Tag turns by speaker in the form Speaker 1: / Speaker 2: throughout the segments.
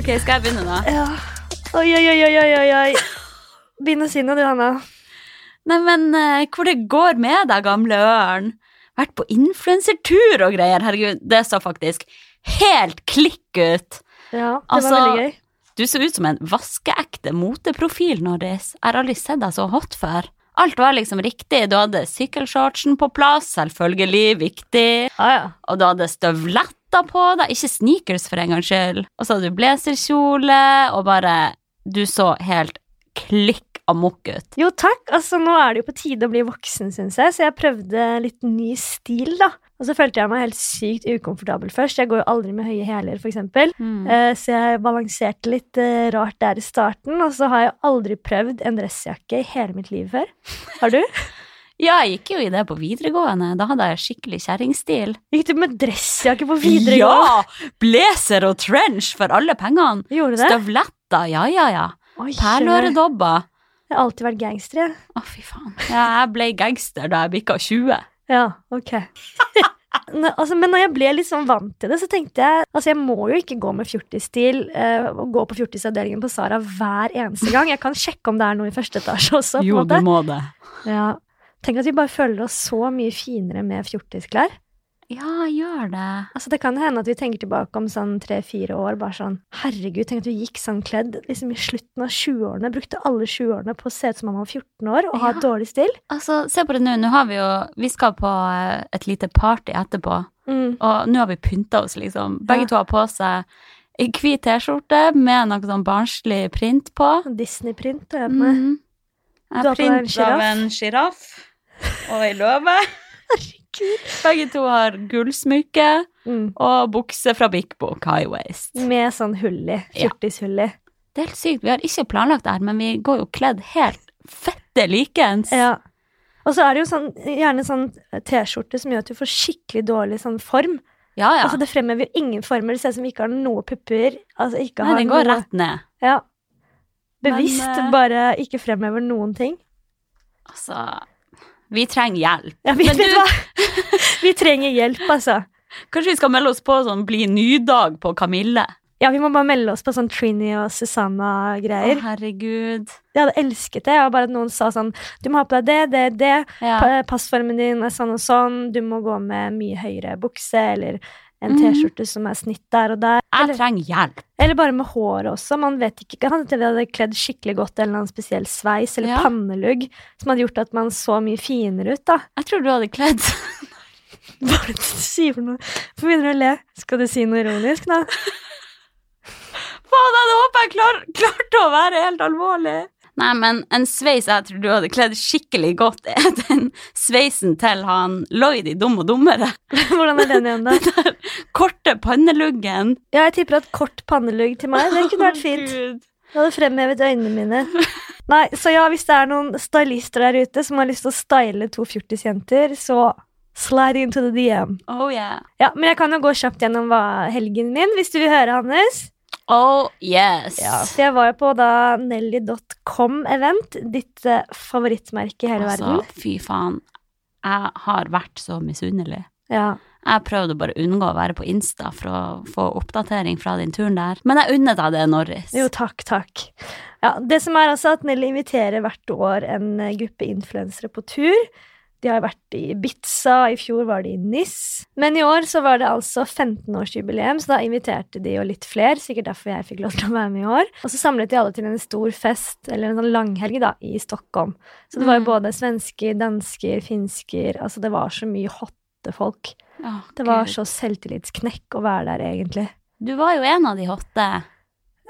Speaker 1: skal jeg begynne nå?
Speaker 2: Ja. Oi, oi, oi, oi, oi, oi. Begynn å si noe, du, Hanna.
Speaker 1: Neimen, eh, hvor det går med deg, gamle ørn? Vært på influensertur og greier. Herregud, det så faktisk helt klikk ut.
Speaker 2: Ja, det
Speaker 1: Altså-
Speaker 2: var veldig gøy.
Speaker 1: Du så ut som en vaskeekte moteprofil, Norris. Jeg har aldri sett deg så hot før. Alt var liksom riktig. Du hadde sykkelshortsen på plass, selvfølgelig viktig.
Speaker 2: Ja, ja.
Speaker 1: Og du hadde støvletter på deg, ikke sneakers for en gangs skyld. Og så hadde du blazerkjole, og bare Du så helt klikk amok ut.
Speaker 2: Jo, takk. Altså, nå er det jo på tide å bli voksen, syns jeg, så jeg prøvde litt ny stil, da. Og så følte jeg meg helt sykt ukomfortabel først. Jeg går jo aldri med høye hæler, for eksempel.
Speaker 1: Mm.
Speaker 2: Eh, Så jeg balanserte litt eh, rart der i starten, og så har jeg aldri prøvd en dressjakke i hele mitt liv før. Har du?
Speaker 1: Ja, jeg gikk jo i det på videregående. Da hadde jeg skikkelig kjerringstil.
Speaker 2: Gikk du med dressjakke på videregående?
Speaker 1: Ja! Blazer og trench for alle pengene.
Speaker 2: Gjorde du det?
Speaker 1: Støvletter, ja, ja, ja.
Speaker 2: Oi, jeg
Speaker 1: Perløredobber.
Speaker 2: har alltid vært gangster, jeg.
Speaker 1: Å, fy faen. Ja, jeg ble gangster da jeg bikka 20.
Speaker 2: Ja, ok. Nå, altså, men når jeg ble litt sånn vant til det, så tenkte jeg altså jeg må jo ikke gå med fjortisstil eh, og gå på fjortisavdelingen på Sara hver eneste gang. Jeg kan sjekke om det er noe i første etasje også. på en måte.
Speaker 1: må det.
Speaker 2: Ja. Tenk at vi bare føler oss så mye finere med fjortisklær.
Speaker 1: Ja, gjør det.
Speaker 2: Altså Det kan hende at vi tenker tilbake om sånn tre-fire år. bare sånn, Herregud, tenk at vi gikk sånn kledd liksom i slutten av 20-årene. Brukte alle 20-årene på å se ut som om man var 14 år og ha
Speaker 1: Ja.
Speaker 2: dårlig stil.
Speaker 1: Altså, se på det nå. Nå har vi jo Vi skal på eh, et lite party etterpå,
Speaker 2: Mm.
Speaker 1: og nå har vi pynta oss, liksom. Begge
Speaker 2: Ja.
Speaker 1: to har på seg en hvit T-skjorte med noe sånn barnslig print på.
Speaker 2: Disney-print har jeg på meg.
Speaker 1: Mm.
Speaker 2: Mm-hmm. Du har på deg en
Speaker 1: printet av en sjiraff og ei løve.
Speaker 2: Herregud.
Speaker 1: Begge to har gullsmykke
Speaker 2: Mm.
Speaker 1: og bukse fra Big Book High Waist.
Speaker 2: Med sånn hull i.
Speaker 1: Ja.
Speaker 2: Fjortishull i.
Speaker 1: Det er helt sykt. Vi har ikke planlagt det her, men vi går jo kledd helt fette likeens.
Speaker 2: Ja. Og så er det jo sånn, gjerne sånn T-skjorte som gjør at du får skikkelig dårlig sånn form.
Speaker 1: ja. ja.
Speaker 2: Altså Det fremhever jo ingen former. Det ser ut som vi ikke har noe pupper. Altså ikke
Speaker 1: Nei,
Speaker 2: har
Speaker 1: den går
Speaker 2: noe,
Speaker 1: rett ned.
Speaker 2: Ja. Bevisst
Speaker 1: Men, eh,
Speaker 2: bare ikke fremhever noen ting.
Speaker 1: Altså Vi trenger hjelp.
Speaker 2: Ja, vi,
Speaker 1: Men
Speaker 2: vet
Speaker 1: du-
Speaker 2: du hva? vi trenger hjelp, altså.
Speaker 1: Kanskje vi skal melde oss på sånn Bli ny-dag på Kamille?
Speaker 2: Ja, Vi må bare melde oss på sånn Trini og
Speaker 1: Å,
Speaker 2: Susanna-greier.
Speaker 1: herregud.
Speaker 2: Jeg hadde elsket det. Og bare at noen sa sånn Du må ha på deg det, det, det.
Speaker 1: Ja.
Speaker 2: Pa- Passformen din er sånn og sånn, du må gå med mye høyere bukse, eller en
Speaker 1: Mhm.
Speaker 2: T-skjorte som er snitt der og der.
Speaker 1: Jeg
Speaker 2: Eller,
Speaker 1: trenger hjelp.
Speaker 2: eller bare med håret også. Man vet ikke, Kan hende vi hadde kledd skikkelig godt eller en spesiell sveis eller
Speaker 1: Ja.
Speaker 2: pannelugg som hadde gjort at man så mye finere ut, da.
Speaker 1: Jeg tror du hadde kledd
Speaker 2: Hva er det du sier for noe? Hvorfor begynner du å le? Skal du si noe ironisk, da?
Speaker 1: Faen, jeg hadde håpet jeg klar, klarte å være helt alvorlig. Nei, men en sveis jeg tror du hadde kledd skikkelig godt, er den sveisen til han Lloyd i Dum og dummere.
Speaker 2: Hvordan er den igjen, da?
Speaker 1: Korte panneluggen.
Speaker 2: Ja, jeg tipper at kort pannelugg til meg, det kunne vært fint.
Speaker 1: Gud.
Speaker 2: Jeg hadde fremhevet øynene mine. Nei, så ja, hvis det er noen stylister der ute som har lyst til å style to fjortisjenter, så slide into the DM.
Speaker 1: Oh yeah.
Speaker 2: Ja, men jeg kan jo gå kjapt gjennom hva helgen min, hvis du vil høre, Hannes.
Speaker 1: Oh yes.
Speaker 2: For jeg var jo på da nelly.com-event, ditt eh, favorittmerke i hele
Speaker 1: Altså,
Speaker 2: verden.
Speaker 1: fy faen. Jeg har vært så misunnelig.
Speaker 2: Ja.
Speaker 1: Jeg prøvde å bare unngå å være på Insta for å få oppdatering fra din turen der. Men jeg unnet deg det, Norris.
Speaker 2: Jo, takk, takk. Ja, det som er altså at Nelly inviterer hvert år en eh, gruppe influensere på tur. De har vært i Ibiza, i fjor var de i NIS. Men i år så var det altså 15-årsjubileum, så da inviterte de jo litt flere. Sikkert derfor jeg fikk lov til å være med i år. Og så samlet de alle til en stor fest, eller en sånn langhelg, da, i Stockholm. Så det var
Speaker 1: Mm.
Speaker 2: jo både svensker, dansker, finsker Altså det var så mye hotte folk.
Speaker 1: Å,
Speaker 2: Det var
Speaker 1: Gud.
Speaker 2: så selvtillitsknekk å være der, egentlig.
Speaker 1: Du var jo en av de hotte.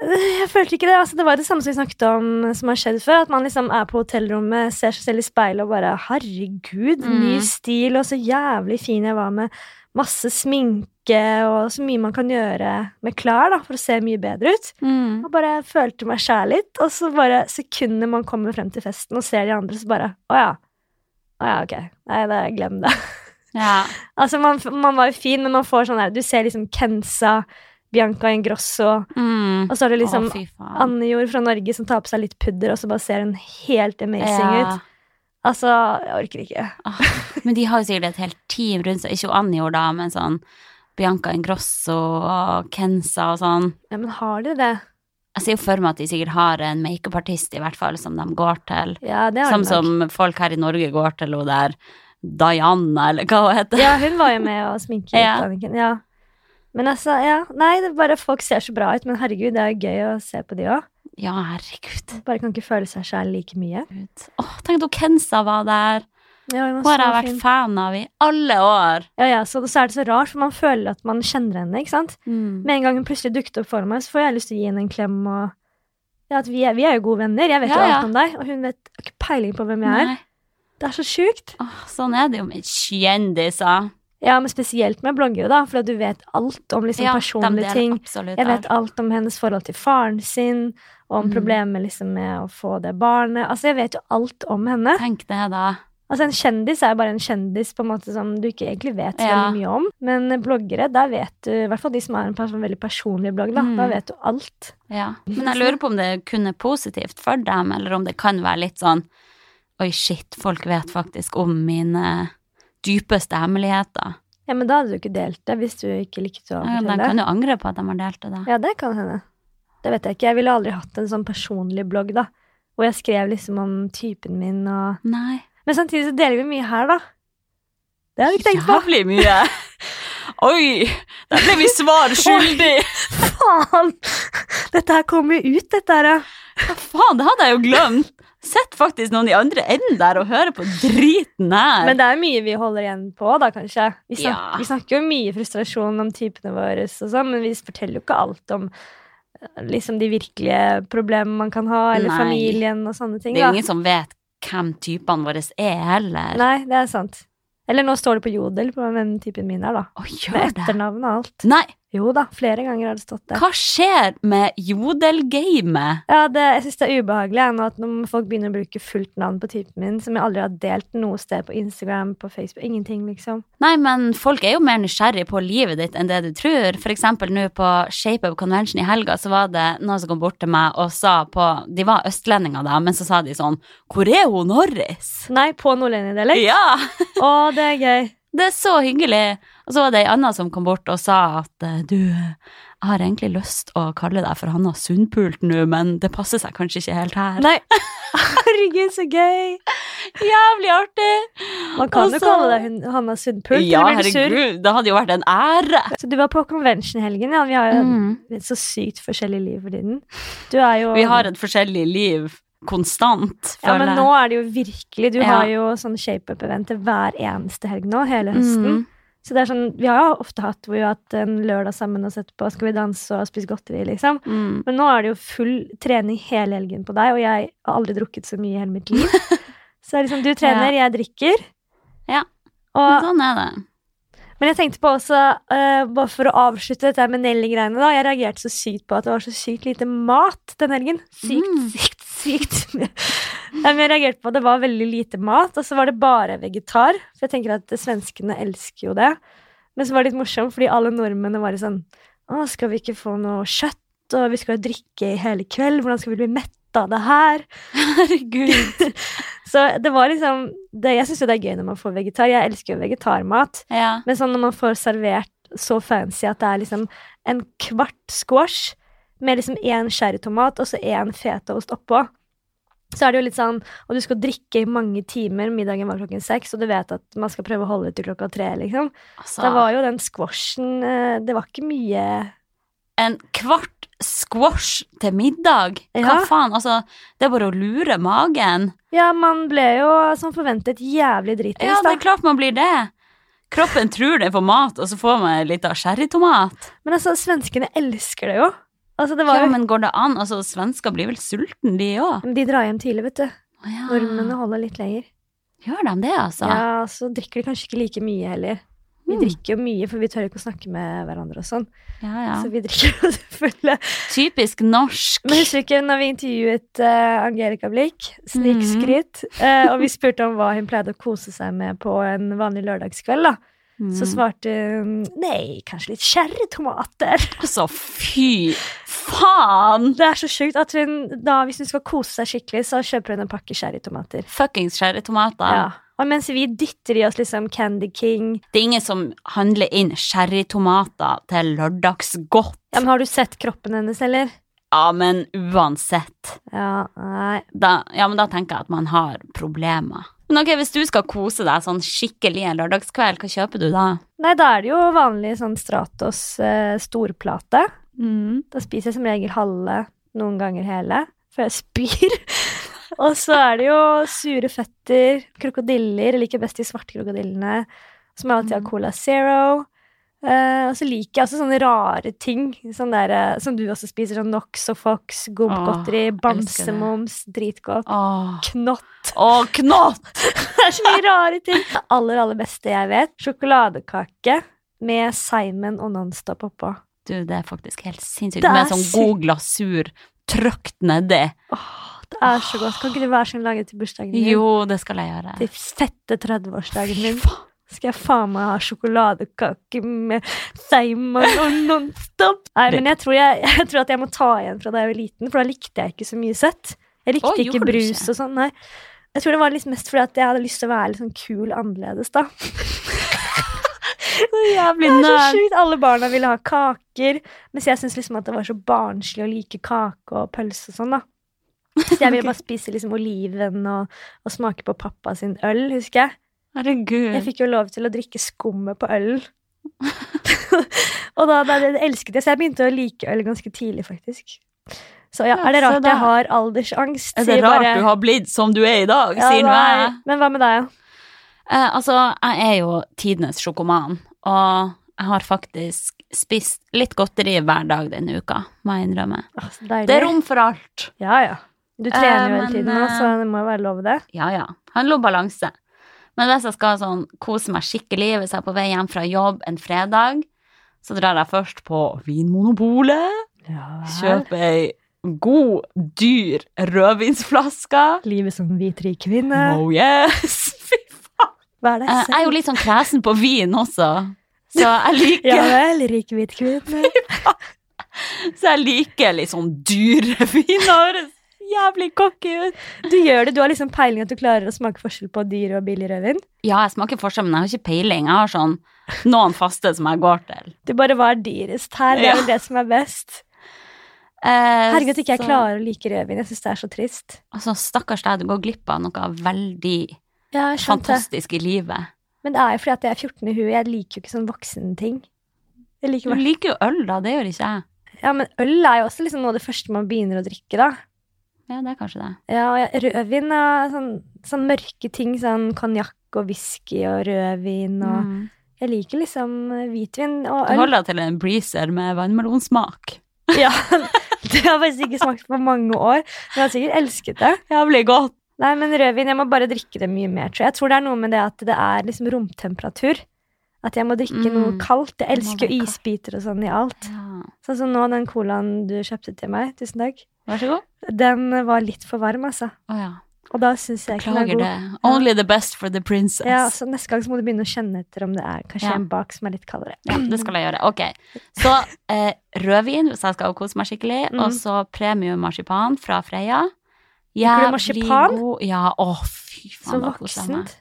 Speaker 2: Jeg følte ikke det. altså Det var det samme som vi snakket om som har skjedd før. At man liksom er på hotellrommet, ser seg selv i speilet og bare Herregud, ny
Speaker 1: Mm.
Speaker 2: stil, og så jævlig fin jeg var med masse sminke og så mye man kan gjøre med klær da, for å se mye bedre ut.
Speaker 1: Mm.
Speaker 2: Og bare følte meg skjær litt. Og så bare sekundet man kommer frem til festen og ser de andre, så bare Å ja. Å ja, ok. Nei, det, glem det.
Speaker 1: Ja.
Speaker 2: Altså, man, man var jo fin, men man får sånn her Du ser liksom Kensa, Bianca Ingrosso,
Speaker 1: Mm.
Speaker 2: og så har du liksom
Speaker 1: Å, fy faen.
Speaker 2: Annejord fra Norge som tar på seg litt pudder, og så bare ser hun helt
Speaker 1: Ja.
Speaker 2: amazing ut. Altså, jeg orker ikke.
Speaker 1: Men de har jo sikkert et helt team rundt seg. Ikke Anjor, da, men sånn Bianca Ingrosso og Kenza og sånn.
Speaker 2: Ja, men har de det?
Speaker 1: Jeg ser jo for meg at de sikkert har en makeupartist, i hvert fall, som de går til.
Speaker 2: Ja, det har
Speaker 1: Sånn
Speaker 2: de nok.
Speaker 1: som folk her i Norge går til hun der Diana, eller hva hun heter.
Speaker 2: Ja, hun var jo med og sminket
Speaker 1: Ja.
Speaker 2: Anniken. Ja. Men altså, ja. Nei, det er bare folk ser så bra ut. Men herregud, det er jo gøy å se på de òg.
Speaker 1: Ja, herregud.
Speaker 2: Bare kan ikke føle seg sjæl like mye.
Speaker 1: Gud. Åh, tenk at hun Kenza var der.
Speaker 2: Ja,
Speaker 1: Hun
Speaker 2: hun var
Speaker 1: har
Speaker 2: så
Speaker 1: jeg vært
Speaker 2: fin.
Speaker 1: fan av i alle år.
Speaker 2: Ja, ja, så, så er det så rart, for man føler at man kjenner henne. ikke sant?
Speaker 1: Mm.
Speaker 2: Med en gang hun plutselig dukket opp for meg, så får jeg lyst til å gi henne en klem. og... Ja, at vi er, vi er jo gode venner. Jeg vet
Speaker 1: Ja,
Speaker 2: jo
Speaker 1: ja.
Speaker 2: alt om deg, og hun vet ikke peiling på hvem jeg er.
Speaker 1: Nei.
Speaker 2: Det er så sjukt.
Speaker 1: Åh, sånn er det jo med kjendiser.
Speaker 2: Ja, men spesielt med bloggere, da, for at du vet alt om liksom,
Speaker 1: Ja, de
Speaker 2: personlige
Speaker 1: deler
Speaker 2: ting.
Speaker 1: absolutt
Speaker 2: Jeg
Speaker 1: alt.
Speaker 2: vet alt om hennes forhold til faren sin, og om
Speaker 1: Mm.
Speaker 2: problemet liksom, med å få det barnet. Altså, jeg vet jo alt om henne.
Speaker 1: Tenk det, da.
Speaker 2: Altså, En kjendis er jo bare en kjendis på en måte som du ikke egentlig vet så
Speaker 1: Ja.
Speaker 2: veldig mye om. Men bloggere, der vet du, i hvert fall de som har en person, veldig personlig blogg, da,
Speaker 1: Mm.
Speaker 2: da vet du alt.
Speaker 1: Ja. Men jeg lurer på om det kun er positivt for dem, eller om det kan være litt sånn Oi, shit, folk vet faktisk om mine dypeste hemmeligheter.
Speaker 2: Ja, Men da hadde du ikke delt det hvis du ikke likte å
Speaker 1: Ja, De
Speaker 2: fortelle.
Speaker 1: kan jo angre på at de har delt det, da.
Speaker 2: Ja, det kan hende. Det vet jeg ikke. Jeg ville aldri hatt en sånn personlig blogg, da. Hvor jeg skrev liksom om typen min og
Speaker 1: Nei.
Speaker 2: Men samtidig så deler vi mye her, da. Det har vi ikke tenkt på.
Speaker 1: Jævlig mye. Oi! Der ble vi svar skyldig!
Speaker 2: Faen! Dette her kommer jo ut, dette her. ja.
Speaker 1: Hva faen, det hadde jeg jo glemt! Sitter faktisk noen i andre enden der og hører på driten her.
Speaker 2: Men det er mye vi holder igjen på, da, kanskje. Vi, snak
Speaker 1: Ja.
Speaker 2: vi snakker jo mye frustrasjon om typene våre, og sånn, men vi forteller jo ikke alt om eh, liksom de virkelige problemene man kan ha, eller
Speaker 1: Nei.
Speaker 2: familien og sånne ting.
Speaker 1: det er
Speaker 2: Da.
Speaker 1: jo ingen som vet hvem typene våre er, heller.
Speaker 2: Nei, det er sant. Eller nå står det på Jodel på hvem typen min er, da.
Speaker 1: Å,
Speaker 2: Med
Speaker 1: gjør det?
Speaker 2: etternavn og alt.
Speaker 1: Nei,
Speaker 2: Jo da, flere ganger har det stått der.
Speaker 1: hva skjer med jodelgamet?
Speaker 2: Ja, det, jeg syns det er ubehagelig jeg, nå at når folk begynner å bruke fullt navn på typen min, som jeg aldri har delt noe sted på Instagram, på Facebook, ingenting, liksom.
Speaker 1: Nei, men folk er jo mer nysgjerrig på livet ditt enn det du tror. For eksempel nå på Shape Up Convention i helga, så var det noen som kom bort til meg og sa på De var østlendinger, da, men så sa de sånn Hvor er hun Norris?
Speaker 2: Nei, på nordlendingdialekt.
Speaker 1: Ja!
Speaker 2: Å, det er gøy.
Speaker 1: Det er så hyggelig. Og så var det ei anna som kom bort og sa at eh, du, jeg har egentlig lyst å kalle deg for Hanna Sundpult nå, men det passer seg kanskje ikke helt her.
Speaker 2: Nei. Herregud, så gøy!
Speaker 1: Jævlig artig!
Speaker 2: Man kan
Speaker 1: Og
Speaker 2: jo
Speaker 1: så-
Speaker 2: kalle deg hun- Hanna Sundpult.
Speaker 1: Ja,
Speaker 2: eller blir du sur?
Speaker 1: herregud, det hadde jo vært en ære.
Speaker 2: Så du var på convention i helgen, ja. Vi har jo
Speaker 1: Mm.
Speaker 2: et så sykt forskjellig liv for tiden. Du er jo
Speaker 1: Vi har et forskjellig liv konstant,
Speaker 2: Ja, men
Speaker 1: føler jeg.
Speaker 2: nå er det jo virkelig Du
Speaker 1: Ja.
Speaker 2: har jo sånn shape-up-eventer hver eneste helg nå, hele høsten.
Speaker 1: Mm.
Speaker 2: Så det er sånn Vi har jo ofte hatt hvor vi har hatt en lørdag sammen og sett på Skal vi danse og spise godteri, liksom.
Speaker 1: Mm.
Speaker 2: Men nå er det jo full trening hele helgen på deg, og jeg har aldri drukket så mye i hele mitt liv. så det er liksom du trener, jeg drikker.
Speaker 1: Ja.
Speaker 2: Og
Speaker 1: Sånn er det.
Speaker 2: Men jeg tenkte på også, eh, bare for å avslutte dette her med Nelly-greiene da, jeg reagerte så sykt på at det var så sykt lite mat den helgen. Sykt,
Speaker 1: Mm.
Speaker 2: sykt, sykt. Nei, Men jeg reagerte på at det var veldig lite mat, og så var det bare vegetar. For jeg tenker at svenskene elsker jo det. Men så var det litt morsomt, fordi alle nordmennene var litt sånn, å, skal vi ikke få noe kjøtt, og vi skal jo drikke i hele kveld, hvordan skal vi bli mett av det her?
Speaker 1: Herregud.
Speaker 2: Så det var liksom, det, jeg synes jo det er gøy når man får vegetar, jeg elsker jo vegetarmat,
Speaker 1: Ja.
Speaker 2: men sånn når man får servert så fancy at det er liksom en kvart squash med liksom én sherrytomat og så én fetaost oppå, så er det jo litt sånn Og du skal drikke i mange timer, middagen var klokken seks, og du vet at man skal prøve å holde til klokka tre, liksom.
Speaker 1: Altså,
Speaker 2: Da var jo den squashen eh, Det var ikke mye
Speaker 1: en kvart squash til middag. Hva
Speaker 2: Ja.
Speaker 1: faen? Altså, det er bare å lure magen.
Speaker 2: Ja, man ble jo som forventet jævlig
Speaker 1: Ja,
Speaker 2: dritings,
Speaker 1: det
Speaker 2: da.
Speaker 1: er klart man blir det. Kroppen tror den får mat, og så får man litt av sherrytomat.
Speaker 2: Men altså, svenskene elsker det jo. Altså, det var
Speaker 1: Ja,
Speaker 2: jo
Speaker 1: men går det an? Altså, svensker blir vel sulten de òg?
Speaker 2: De drar hjem tidlig, vet du.
Speaker 1: ja.
Speaker 2: Nordmennene holder litt lenger.
Speaker 1: Gjør de det, altså?
Speaker 2: Ja, så drikker de kanskje ikke like mye heller. Vi
Speaker 1: Mm.
Speaker 2: drikker jo mye, for vi tør ikke å snakke med hverandre og sånn.
Speaker 1: Ja, ja.
Speaker 2: Så vi drikker jo selvfølgelig.
Speaker 1: Typisk norsk.
Speaker 2: Men husker du ikke når vi intervjuet eh, Angelica Blikk? Snikskryt. eh, og vi spurte om hva hun pleide å kose seg med på en vanlig lørdagskveld, da. Så
Speaker 1: Mm.
Speaker 2: svarte hun nei, kanskje litt sherrytomater.
Speaker 1: Altså, fy faen!
Speaker 2: Det er så sjukt at hun da, hvis hun skal kose seg skikkelig, så kjøper hun en pakke sherrytomater.
Speaker 1: Fuckings sherrytomater.
Speaker 2: Ja. Og mens vi dytter i oss liksom Candy King
Speaker 1: Det er ingen som handler inn sherrytomater til lørdagsgodt.
Speaker 2: ja, men Har du sett kroppen hennes, eller?
Speaker 1: Ja, men uansett.
Speaker 2: Ja, nei.
Speaker 1: Da, ja, men da tenker jeg at man har problemer. Men ok, Hvis du skal kose deg sånn skikkelig en lørdagskveld, hva kjøper du da?
Speaker 2: nei, da er det jo vanlig sånn Stratos eh, storplate. Da spiser jeg som regel halve, noen ganger hele, før jeg spyr. og så er det jo sure føtter, krokodiller. Jeg liker best de svarte krokodillene. Som jeg
Speaker 1: Mm.
Speaker 2: alltid har Cola Zero. Eh, og så liker jeg også sånne rare ting sånn der, eh, som du også spiser. Sånn Nox og Fox, gobbgodteri,
Speaker 1: elsker det.
Speaker 2: bamsemums, dritgodt.
Speaker 1: Åh,
Speaker 2: Knott.
Speaker 1: Åh, knott!
Speaker 2: Det er så mye rare ting. Det aller, aller beste jeg vet. Sjokoladekake med Simon og Nonstop oppå.
Speaker 1: Du, det er faktisk helt sinnssykt.
Speaker 2: Det
Speaker 1: Med
Speaker 2: er
Speaker 1: sånn
Speaker 2: sykt.
Speaker 1: god glasur trøkt nedi.
Speaker 2: Åh, det er så godt. Kan ikke du være så snill å lage det til bursdagen din?
Speaker 1: Jo, det skal jeg gjøre.
Speaker 2: Til fette 30-årsdagen min
Speaker 1: Fy faen.
Speaker 2: skal jeg faen meg ha sjokoladekake med Simon og Nonstop. Nei, men jeg tror, jeg, jeg tror at jeg må ta igjen fra da jeg var liten, for da likte jeg ikke så mye søtt. Jeg likte
Speaker 1: Å,
Speaker 2: ikke
Speaker 1: gjorde du
Speaker 2: brus
Speaker 1: ikke?
Speaker 2: og sånn, nei. Jeg tror det var litt mest fordi at jeg hadde lyst til å være litt sånn kul annerledes, da.
Speaker 1: Så jævlig
Speaker 2: Det er så
Speaker 1: nerd.
Speaker 2: sjukt. Alle barna ville ha kaker, mens jeg syntes liksom at det var så barnslig å like kake og pølse og sånn, da. Så jeg ville
Speaker 1: Ok.
Speaker 2: bare spise liksom oliven og, og smake på pappa sin øl, husker jeg. Jeg
Speaker 1: Herregud.
Speaker 2: fikk jo lov til å drikke skummet på ølen. og da, da det elsket jeg, så jeg begynte å like øl ganske tidlig, faktisk. Så ja,
Speaker 1: Ja,
Speaker 2: er det
Speaker 1: så
Speaker 2: rart
Speaker 1: da-
Speaker 2: jeg har aldersangst?
Speaker 1: Er det
Speaker 2: sier
Speaker 1: rart
Speaker 2: bare-
Speaker 1: du har blitt som du er i dag,
Speaker 2: Ja,
Speaker 1: sier nå
Speaker 2: nei.
Speaker 1: jeg.
Speaker 2: Men hva med deg,
Speaker 1: Eh, altså, jeg er jo tidenes sjokoman, og jeg har faktisk spist litt godteri hver dag denne uka, må jeg innrømme.
Speaker 2: da? Å, så deilig.
Speaker 1: Det er rom for alt.
Speaker 2: Ja, ja. Du trener
Speaker 1: Eh,
Speaker 2: jo hele
Speaker 1: men,
Speaker 2: tiden nå,
Speaker 1: eh,
Speaker 2: så det må jo være lov, det.
Speaker 1: Ja, ja. Handler om balanse. Men hvis jeg skal sånn, kose meg skikkelig, hvis jeg er på vei hjem fra jobb en fredag, så drar jeg først på Vinmonopolet, kjøper ei god, dyr rødvinsflaske.
Speaker 2: Livet som hvitrik kvinne.
Speaker 1: Oh yes! Fy faen.
Speaker 2: Hva er det?
Speaker 1: Eh, Jeg er jo litt sånn kresen på vin også, så jeg liker
Speaker 2: Ja vel, rik hvit kvinne.
Speaker 1: Så jeg liker litt sånn dyre viner. Høres jævlig cocky ut.
Speaker 2: Du gjør det, du har liksom peiling at du klarer å smake forskjell på dyr og billig rødvin.
Speaker 1: Ja, jeg smaker forskjell, men jeg har ikke peiling. Jeg har sånn noen faste som jeg går til.
Speaker 2: Du bare var dyrest her, det
Speaker 1: Ja.
Speaker 2: er vel det som er best.
Speaker 1: Eh,
Speaker 2: Herregud, at ikke jeg
Speaker 1: så-
Speaker 2: klarer å like rødvin, jeg syns det er så trist.
Speaker 1: Altså, stakkars deg, du går glipp av noe veldig
Speaker 2: Ja, jeg skjønte det.
Speaker 1: fantastisk i livet.
Speaker 2: Men det er jo fordi at jeg er 14 i huet, jeg liker jo ikke sånn voksenting.
Speaker 1: Du
Speaker 2: Jeg liker vok-
Speaker 1: liker jo øl, da. Det gjør ikke jeg.
Speaker 2: Ja, men øl er jo også liksom noe av det første man begynner å drikke, da.
Speaker 1: Ja, det er kanskje det.
Speaker 2: Ja, og jeg- rødvin er sånn, sånn mørke ting, sånn konjakk og whisky og rødvin og
Speaker 1: Mm.
Speaker 2: Jeg liker liksom hvitvin og
Speaker 1: Du
Speaker 2: øl.
Speaker 1: holder deg til en breezer med vannmelonsmak.
Speaker 2: Ja, det har jeg faktisk ikke smakt på mange år, men jeg har sikkert elsket det.
Speaker 1: Jævlig godt.
Speaker 2: Nei, men rødvin, jeg må bare drikke det mye mer, tror jeg. Jeg tror det er noe med det at det er liksom romtemperatur. At jeg må drikke noe
Speaker 1: Mm,
Speaker 2: kaldt. Jeg
Speaker 1: det må være
Speaker 2: elsker jo
Speaker 1: kaldt.
Speaker 2: isbiter og sånn i alt.
Speaker 1: Ja.
Speaker 2: Sånn som nå, den colaen du kjøpte til meg, tusen takk,
Speaker 1: Vær så god.
Speaker 2: den var litt for varm, altså.
Speaker 1: Å ja.
Speaker 2: Og da syns jeg ikke den er
Speaker 1: Klager
Speaker 2: god.
Speaker 1: det. Only the best for the princess.
Speaker 2: Ja, så neste gang så må du begynne å kjenne etter om det er kanskje
Speaker 1: Ja.
Speaker 2: en bak som er litt kaldere.
Speaker 1: Ja, det skal jeg gjøre. Ok. Så eh, rødvin, hvis jeg skal kose meg skikkelig,
Speaker 2: Mm.
Speaker 1: og så premium marsipan fra Freia.
Speaker 2: Liker du marsipan?
Speaker 1: god. Ja, å fy
Speaker 2: Så
Speaker 1: faen, da koser jeg meg.
Speaker 2: voksent.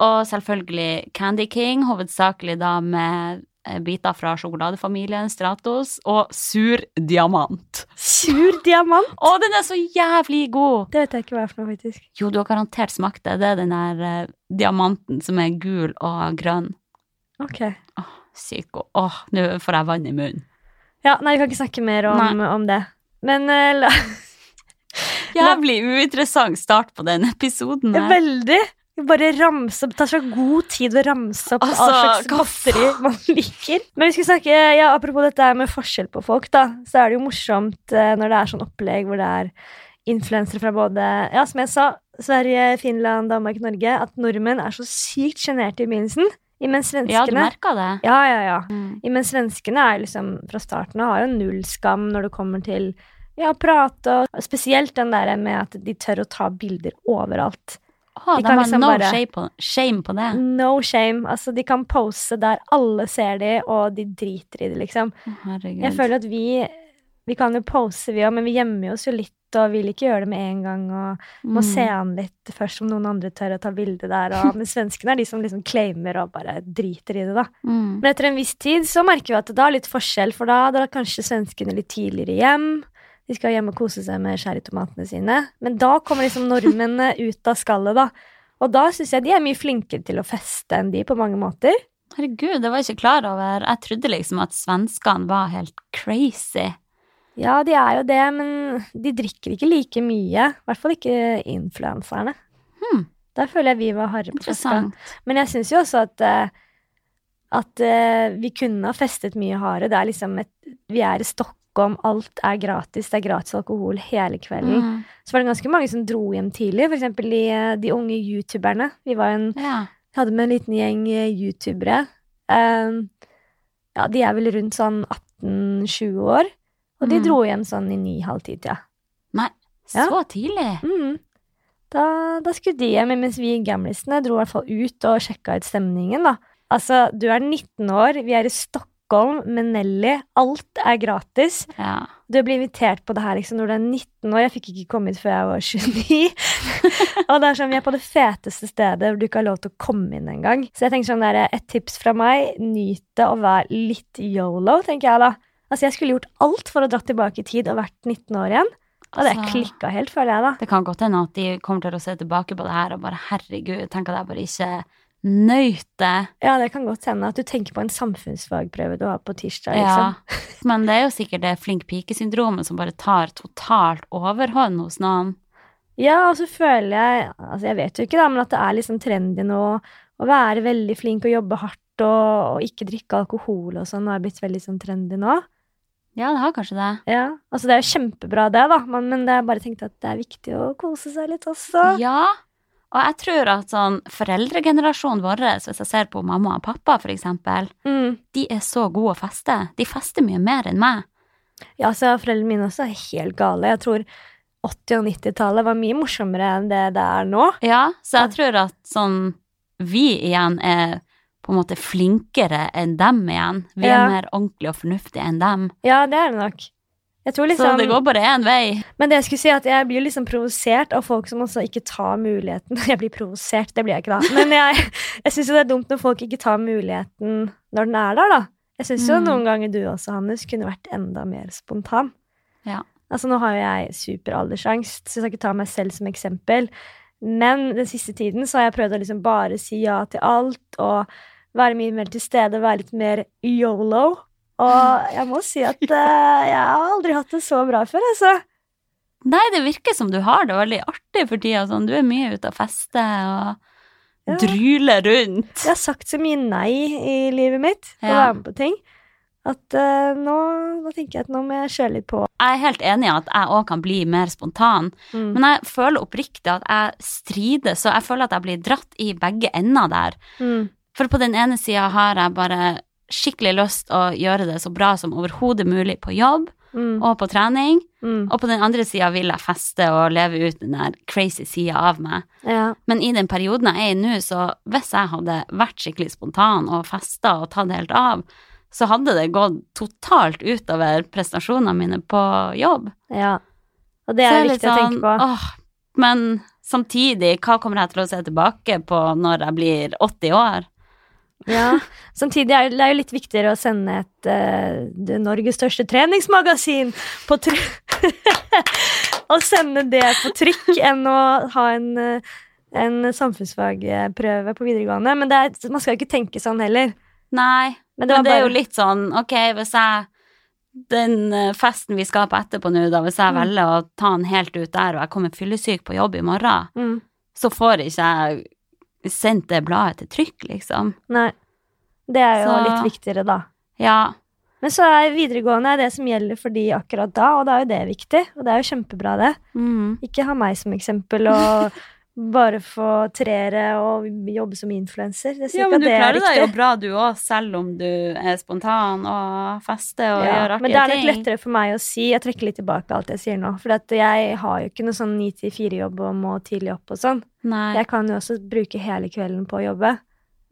Speaker 1: Og selvfølgelig Candy King, hovedsakelig da med eh, biter fra sjokoladefamilien Stratos, og sur diamant.
Speaker 2: Sur diamant!
Speaker 1: Å, den er så jævlig god!
Speaker 2: Det vet jeg ikke hva er for noe, faktisk.
Speaker 1: Jo, du har garantert smakt det. Det er den der eh, diamanten som er gul og grønn.
Speaker 2: Ok.
Speaker 1: Sykt god. Åh, nå får jeg vann i munnen.
Speaker 2: Ja, nei, vi kan ikke snakke mer om, om det. Men eh, la,
Speaker 1: Jævlig uinteressant start på den episoden her.
Speaker 2: veldig Bare ramse opp Det tar så god tid å ramse opp
Speaker 1: Altså,
Speaker 2: all slags
Speaker 1: hva
Speaker 2: godteri man liker. Men vi skulle snakke ja, Apropos dette her med forskjell på folk, da. Så er det jo morsomt eh, når det er sånn opplegg hvor det er influensere fra både Ja, som jeg sa, Sverige, Finland, Danmark, Norge. At nordmenn er så sykt sjenerte i begynnelsen. Imens
Speaker 1: Ja, du
Speaker 2: svenskene
Speaker 1: merka det.
Speaker 2: Ja, ja, ja.
Speaker 1: Mm.
Speaker 2: Men svenskene er jo liksom fra starten av har jo null skam når det kommer til ja, prate og Spesielt den der med at de tør å ta bilder overalt.
Speaker 1: Å,
Speaker 2: De
Speaker 1: de
Speaker 2: kan
Speaker 1: har
Speaker 2: liksom
Speaker 1: no
Speaker 2: bare- Mm.
Speaker 1: shame, på, shame på det.
Speaker 2: No shame. Altså, de kan pose der alle ser de, og de driter i det, liksom.
Speaker 1: Å, Herregud.
Speaker 2: Jeg føler at vi Vi kan jo pose, vi òg, men vi gjemmer oss jo litt. Og vil ikke gjøre det med en gang, og må
Speaker 1: Mm.
Speaker 2: se an litt først om noen andre tør å ta bilde der. Og, men svenskene er de som liksom claimer og bare driter i det, da.
Speaker 1: Mm.
Speaker 2: Men etter en viss tid så merker vi at det er litt forskjell, for da drar kanskje svenskene litt tidligere hjem. De De skal hjem og kose seg med cherrytomatene sine. Men da kommer liksom nordmennene ut av skallet, da. Og da syns jeg de er mye flinkere til å feste enn de på mange måter.
Speaker 1: Herregud, det var jeg ikke klar over. Jeg trodde liksom at svenskene var helt crazy.
Speaker 2: Ja, de er jo det, men de drikker ikke like mye. I hvert fall ikke influenserne.
Speaker 1: Hmm.
Speaker 2: Der føler jeg vi var harde på festa.
Speaker 1: Interessant.
Speaker 2: Men jeg syns jo også at eh, at eh, vi kunne ha festet mye hardere. Det er liksom et, vi er i Stockholm, alt er gratis. Det er gratis alkohol hele kvelden.
Speaker 1: Mm.
Speaker 2: Så var det ganske mange som dro hjem tidlig. For eksempel de, eh, de unge youtuberne. Vi var en,
Speaker 1: Ja.
Speaker 2: hadde med en liten gjeng eh, youtubere. Eh, ja, de er vel rundt sånn 18-20 år. Og de
Speaker 1: Mm.
Speaker 2: dro hjem sånn i ni-halv ti-tida. Ja.
Speaker 1: Så tidlig.
Speaker 2: Mm. Da, da skulle de hjem, mens vi gamlisene dro i hvert fall ut og sjekka ut stemningen, da. Altså, du er 19 år, vi er i Stockholm med Nelly, alt er gratis.
Speaker 1: Ja.
Speaker 2: Du blir invitert på det her liksom når du er 19 år. Jeg fikk ikke komme hit før jeg var 29. og det er sånn, vi er på det feteste stedet hvor du ikke har lov til å komme inn engang. Så jeg tenker sånn der, et tips fra meg, nyt det og vær litt yolo, tenker jeg da. Altså, jeg skulle gjort alt for å dra tilbake i tid og vært 19 år igjen. Og det
Speaker 1: Altså-
Speaker 2: klikka helt, føler jeg, da.
Speaker 1: Det kan godt hende at de kommer til å se tilbake på det her og bare herregud, tenk at jeg bare ikke nøyt det.
Speaker 2: Ja, det kan godt hende at du tenker på en samfunnsfagprøve du har på tirsdag.
Speaker 1: Ja.
Speaker 2: Liksom.
Speaker 1: Men det er jo sikkert det flink pike-syndromet som bare tar totalt overhånd hos noen.
Speaker 2: Ja. og så føler jeg altså Jeg vet jo ikke, da, men at det er liksom trendy nå å være veldig flink og jobbe hardt og, og ikke drikke alkohol og sånn. Det har blitt veldig sånn trendy nå.
Speaker 1: Ja, det har kanskje det.
Speaker 2: Ja, altså Det er jo kjempebra, det, da, men, men det er bare tenkt at det er viktig å kose seg litt også.
Speaker 1: Ja. Og jeg tror at sånn foreldregenerasjonen vår, hvis jeg ser på mamma og pappa for eksempel,
Speaker 2: Mm.
Speaker 1: de er så gode å feste. De fester mye mer enn meg.
Speaker 2: Ja, så Foreldrene mine også er helt gale. Jeg tror 80- og 90-tallet var mye morsommere enn det det er nå.
Speaker 1: Ja, så jeg tror at sånn vi igjen er på en måte flinkere enn dem igjen. Vi er
Speaker 2: Ja.
Speaker 1: mer ordentlige og fornuftige enn dem.
Speaker 2: Ja, det er det nok. Jeg tror
Speaker 1: Så
Speaker 2: liksom,
Speaker 1: det går bare én vei.
Speaker 2: Men det jeg skulle si er at jeg blir jo liksom provosert av folk som også ikke tar muligheten. Jeg blir provosert, det blir jeg ikke da. Men jeg, jeg syns jo det er dumt når folk ikke tar muligheten når den er der, da. Jeg syns jo
Speaker 1: Mm.
Speaker 2: noen ganger du også, Hannes, kunne vært enda mer spontan.
Speaker 1: Ja.
Speaker 2: Altså nå har jo jeg superaldersangst, så jeg skal ikke ta meg selv som eksempel. Men den siste tiden så har jeg prøvd å liksom bare si ja til alt og være mye mer til stede, være litt mer yolo. Og jeg må si at eh, jeg har aldri hatt det så bra før, altså.
Speaker 1: Nei, det virker som du har det veldig artig for tida. Sånn. Du er mye ute og fester og
Speaker 2: Ja.
Speaker 1: dryler rundt.
Speaker 2: Jeg har sagt så mye nei i livet mitt til å
Speaker 1: Ja.
Speaker 2: være med på ting. At eh, nå, nå tenker jeg at nå må jeg kjøre litt på.
Speaker 1: Jeg er helt enig i at jeg òg kan bli mer spontan,
Speaker 2: Mm.
Speaker 1: men jeg føler oppriktig at jeg strider, så jeg føler at jeg blir dratt i begge ender der.
Speaker 2: Mm.
Speaker 1: For på den ene sida har jeg bare skikkelig lyst å gjøre det så bra som overhodet mulig på jobb
Speaker 2: Mm.
Speaker 1: og på trening,
Speaker 2: Mm.
Speaker 1: og på den andre sida vil jeg feste og leve ut den der crazy sida av meg.
Speaker 2: Ja.
Speaker 1: Men i den perioden jeg er i nå, så hvis jeg hadde vært skikkelig spontan og festa og tatt helt av, så hadde det gått totalt utover prestasjonene mine på jobb.
Speaker 2: ja. Og det
Speaker 1: Så
Speaker 2: er
Speaker 1: jeg
Speaker 2: viktig å
Speaker 1: litt
Speaker 2: tenke på.
Speaker 1: sånn, Åh, men samtidig, hva kommer jeg til å se tilbake på når jeg blir 80 år?
Speaker 2: Ja. Samtidig er det det er jo litt viktigere å sende et eh, det Norges største treningsmagasin på trykk Å sende det på trykk enn å ha en, eh, en samfunnsfagprøve på videregående. Men det er, man skal jo ikke tenke sånn heller.
Speaker 1: Nei, men
Speaker 2: Men det, var
Speaker 1: det er
Speaker 2: bare,
Speaker 1: jo litt sånn, ok, hvis jeg den eh, festen vi skal på etterpå nå, da, hvis jeg
Speaker 2: Mm.
Speaker 1: velger å ta den helt ut der, og jeg kommer fyllesyk på jobb i morgen,
Speaker 2: mm.
Speaker 1: så får ikke jeg sendt det bladet til trykk, liksom.
Speaker 2: Nei. Det er jo
Speaker 1: Så-
Speaker 2: litt viktigere, da.
Speaker 1: Ja,
Speaker 2: Men så er videregående det som gjelder for de akkurat da, og da er jo det viktig. Og det er jo kjempebra, det.
Speaker 1: mm.
Speaker 2: Ikke ha meg som eksempel og bare få treere og jobbe som influenser. Jeg sier
Speaker 1: ja men
Speaker 2: ikke at
Speaker 1: du
Speaker 2: det er
Speaker 1: klarer deg jo
Speaker 2: riktig.
Speaker 1: bra du òg, selv om du er spontan og fester og gjør
Speaker 2: Ja,
Speaker 1: artige ting.
Speaker 2: men det er nok lettere for meg å si Jeg trekker litt tilbake alt jeg sier nå. For at jeg har jo ikke noe sånn 9-4-jobb og må tidlig opp og sånn.
Speaker 1: Nei.
Speaker 2: Jeg kan jo også bruke hele kvelden på å jobbe.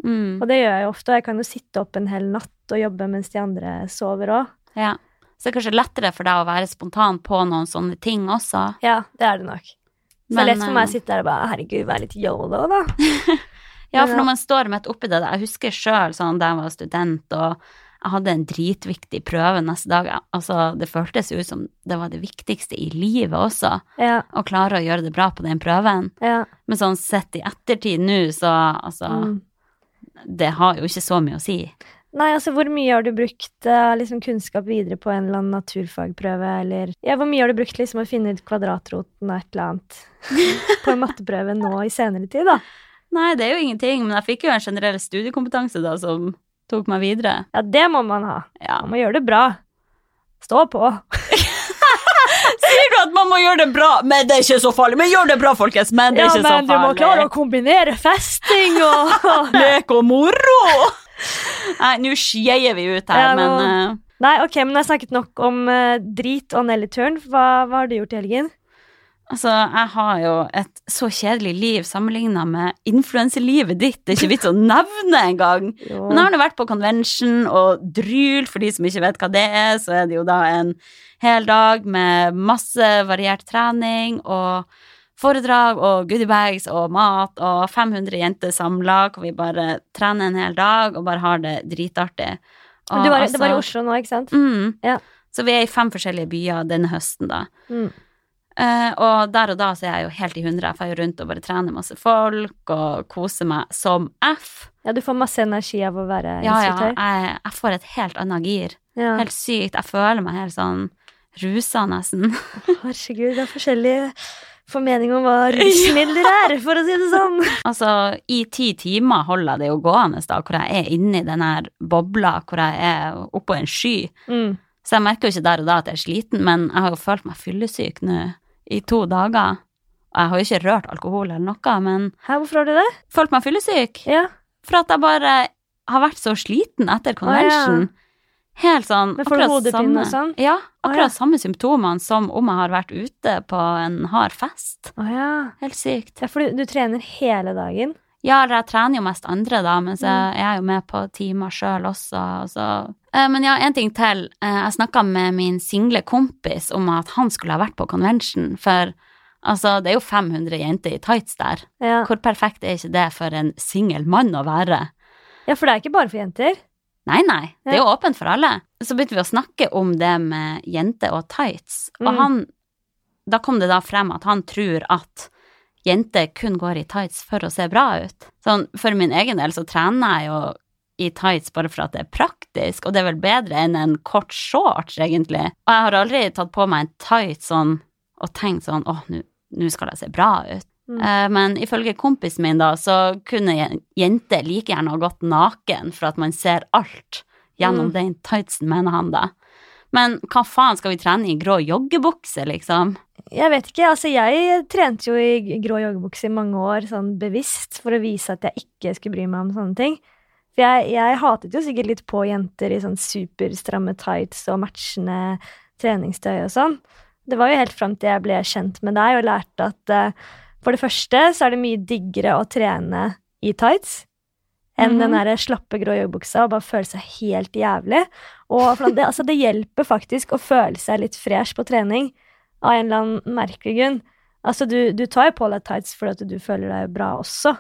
Speaker 1: Mm.
Speaker 2: Og det gjør jeg jo ofte. Og jeg kan jo sitte opp en hel natt og jobbe mens de andre sover òg.
Speaker 1: Ja. Så det er kanskje lettere for deg å være spontan på noen sånne ting også.
Speaker 2: Ja, det er det nok. Så det
Speaker 1: Men,
Speaker 2: er lett for meg
Speaker 1: eh,
Speaker 2: å sitte der og bare herregud, vær litt yolo, da.
Speaker 1: Ja,
Speaker 2: Men
Speaker 1: for
Speaker 2: ja.
Speaker 1: når man står midt oppi det Jeg husker sjøl sånn da jeg var student, og Jeg hadde en dritviktig prøve neste dag. Altså, det føltes jo ut som det var det viktigste i livet også,
Speaker 2: Ja,
Speaker 1: å klare å gjøre det bra på den prøven.
Speaker 2: ja.
Speaker 1: Men sånn sett i ettertid nå, så altså
Speaker 2: Mm.
Speaker 1: Det har jo ikke så mye å si.
Speaker 2: Nei, altså hvor mye har du brukt eh, liksom, kunnskap videre på en eller annen naturfagprøve, eller Ja, hvor mye har du brukt liksom å finne ut kvadratroten av et eller annet på en matteprøve nå i senere tid, da?
Speaker 1: Nei, det er jo ingenting, men jeg fikk jo en generell studiekompetanse da som tok meg videre.
Speaker 2: Ja, det må man ha.
Speaker 1: Ja.
Speaker 2: Man må gjøre det bra. Stå på.
Speaker 1: Sier du at man må gjøre det bra? Men det er ikke så farlig. Men gjør det bra, folkens. Men det er ikke så farlig.
Speaker 2: å kombinere festing og
Speaker 1: Lek og moro! Nei, nå skeier vi ut her,
Speaker 2: Ja, nå-
Speaker 1: men eh,
Speaker 2: Nei, ok, men jeg har snakket nok om eh, drit og Nelly-turen. Hva, hva har du gjort i helgen?
Speaker 1: Altså, jeg har jo et så kjedelig liv sammenligna med influenselivet ditt. Det er ikke vits å nevne engang.
Speaker 2: Jo.
Speaker 1: Men jeg har nå vært på convention og dryl, for de som ikke vet hva det er, så er det jo da en hel dag med masse variert trening og foredrag og goodiebags og mat og 500 jenter samla, hvor vi bare trener en hel dag og bare har det dritartig. Og
Speaker 2: Men du var,
Speaker 1: altså-
Speaker 2: det var i Oslo nå, ikke sant?
Speaker 1: Mm.
Speaker 2: Ja.
Speaker 1: Så vi er i fem forskjellige byer denne høsten, da.
Speaker 2: Mm.
Speaker 1: Eh, og der og da så er jeg jo helt i hundre. Jeg får jo rundt og bare trener masse folk og koser meg som F.
Speaker 2: Ja, du får masse energi av å være
Speaker 1: Ja, ja,
Speaker 2: instruktør.
Speaker 1: jeg, jeg får et helt annet gir.
Speaker 2: Ja,
Speaker 1: Helt sykt. Jeg føler meg helt sånn rusa, nesten.
Speaker 2: Herregud, det er forskjellige formeninger om hva rusmidler er, for å si det sånn.
Speaker 1: Altså, i ti timer holder jeg det jo gående, da, hvor jeg er inni den her bobla, hvor jeg er oppå en sky.
Speaker 2: Mm.
Speaker 1: Så jeg merker jo ikke der og da at jeg er sliten, men jeg har jo følt meg fyllesyk nå i to dager. Og jeg har jo ikke rørt alkohol eller noe, men
Speaker 2: Hæ, hvorfor har du det?
Speaker 1: følt meg fyllesyk.
Speaker 2: Ja.
Speaker 1: For at jeg bare har vært så sliten etter convention. Helt sånn
Speaker 2: Men får du
Speaker 1: akkurat
Speaker 2: hodepine og
Speaker 1: samme-
Speaker 2: sånn?
Speaker 1: Ja,
Speaker 2: Å,
Speaker 1: akkurat
Speaker 2: ja.
Speaker 1: samme symptomene som om jeg har vært ute på en hard fest.
Speaker 2: Å ja.
Speaker 1: Helt sykt.
Speaker 2: Ja, for du, du trener hele dagen.
Speaker 1: Ja, eller jeg trener jo mest andre, da, mens
Speaker 2: Mm.
Speaker 1: jeg, jeg er jo med på timer sjøl også. og Så. Eh, Men ja, en ting til. Eh, Jeg snakka med min single kompis om at han skulle ha vært på convention, for altså, det er jo 500 jenter i tights der.
Speaker 2: Ja.
Speaker 1: Hvor perfekt er ikke det for en singel mann å være?
Speaker 2: ja, for det er ikke bare for jenter.
Speaker 1: Nei, nei, det er jo åpent for alle. Så begynte vi å snakke om det med jenter og tights, og
Speaker 2: Mm.
Speaker 1: han Da kom det da frem at han tror at jenter kun går i tights for å se bra ut. Sånn, for min egen del så trener jeg jo i tights bare for at det er praktisk, og det er vel bedre enn en kort shorts, egentlig. Og jeg har aldri tatt på meg en tights sånn og tenkt sånn åh, nå nå skal jeg se bra ut.
Speaker 2: Mm.
Speaker 1: Eh, Men ifølge kompisen min, da, så kunne jen- jenter like gjerne ha gått naken for at man ser alt gjennom
Speaker 2: Mm.
Speaker 1: den tightsen, mener han da. Men hva faen skal vi trene i grå joggebukse, liksom?
Speaker 2: Jeg vet ikke, altså jeg trente jo i grå joggebukse i mange år, sånn bevisst, for å vise at jeg ikke skulle bry meg om sånne ting. For jeg, jeg hatet jo sikkert litt på jenter i sånn superstramme tights og matchende treningstøy og sånn. Det var jo helt fram til jeg ble kjent med deg og lærte at eh, for det første så er det mye diggere å trene i tights enn
Speaker 1: Mhm.
Speaker 2: den derre slappe grå joggebuksa og bare føle seg helt jævlig. Og for det, altså, det hjelper faktisk å føle seg litt fresh på trening av en eller annen merkelig grunn. Altså, du, du tar jo på deg tights fordi at du føler deg bra også.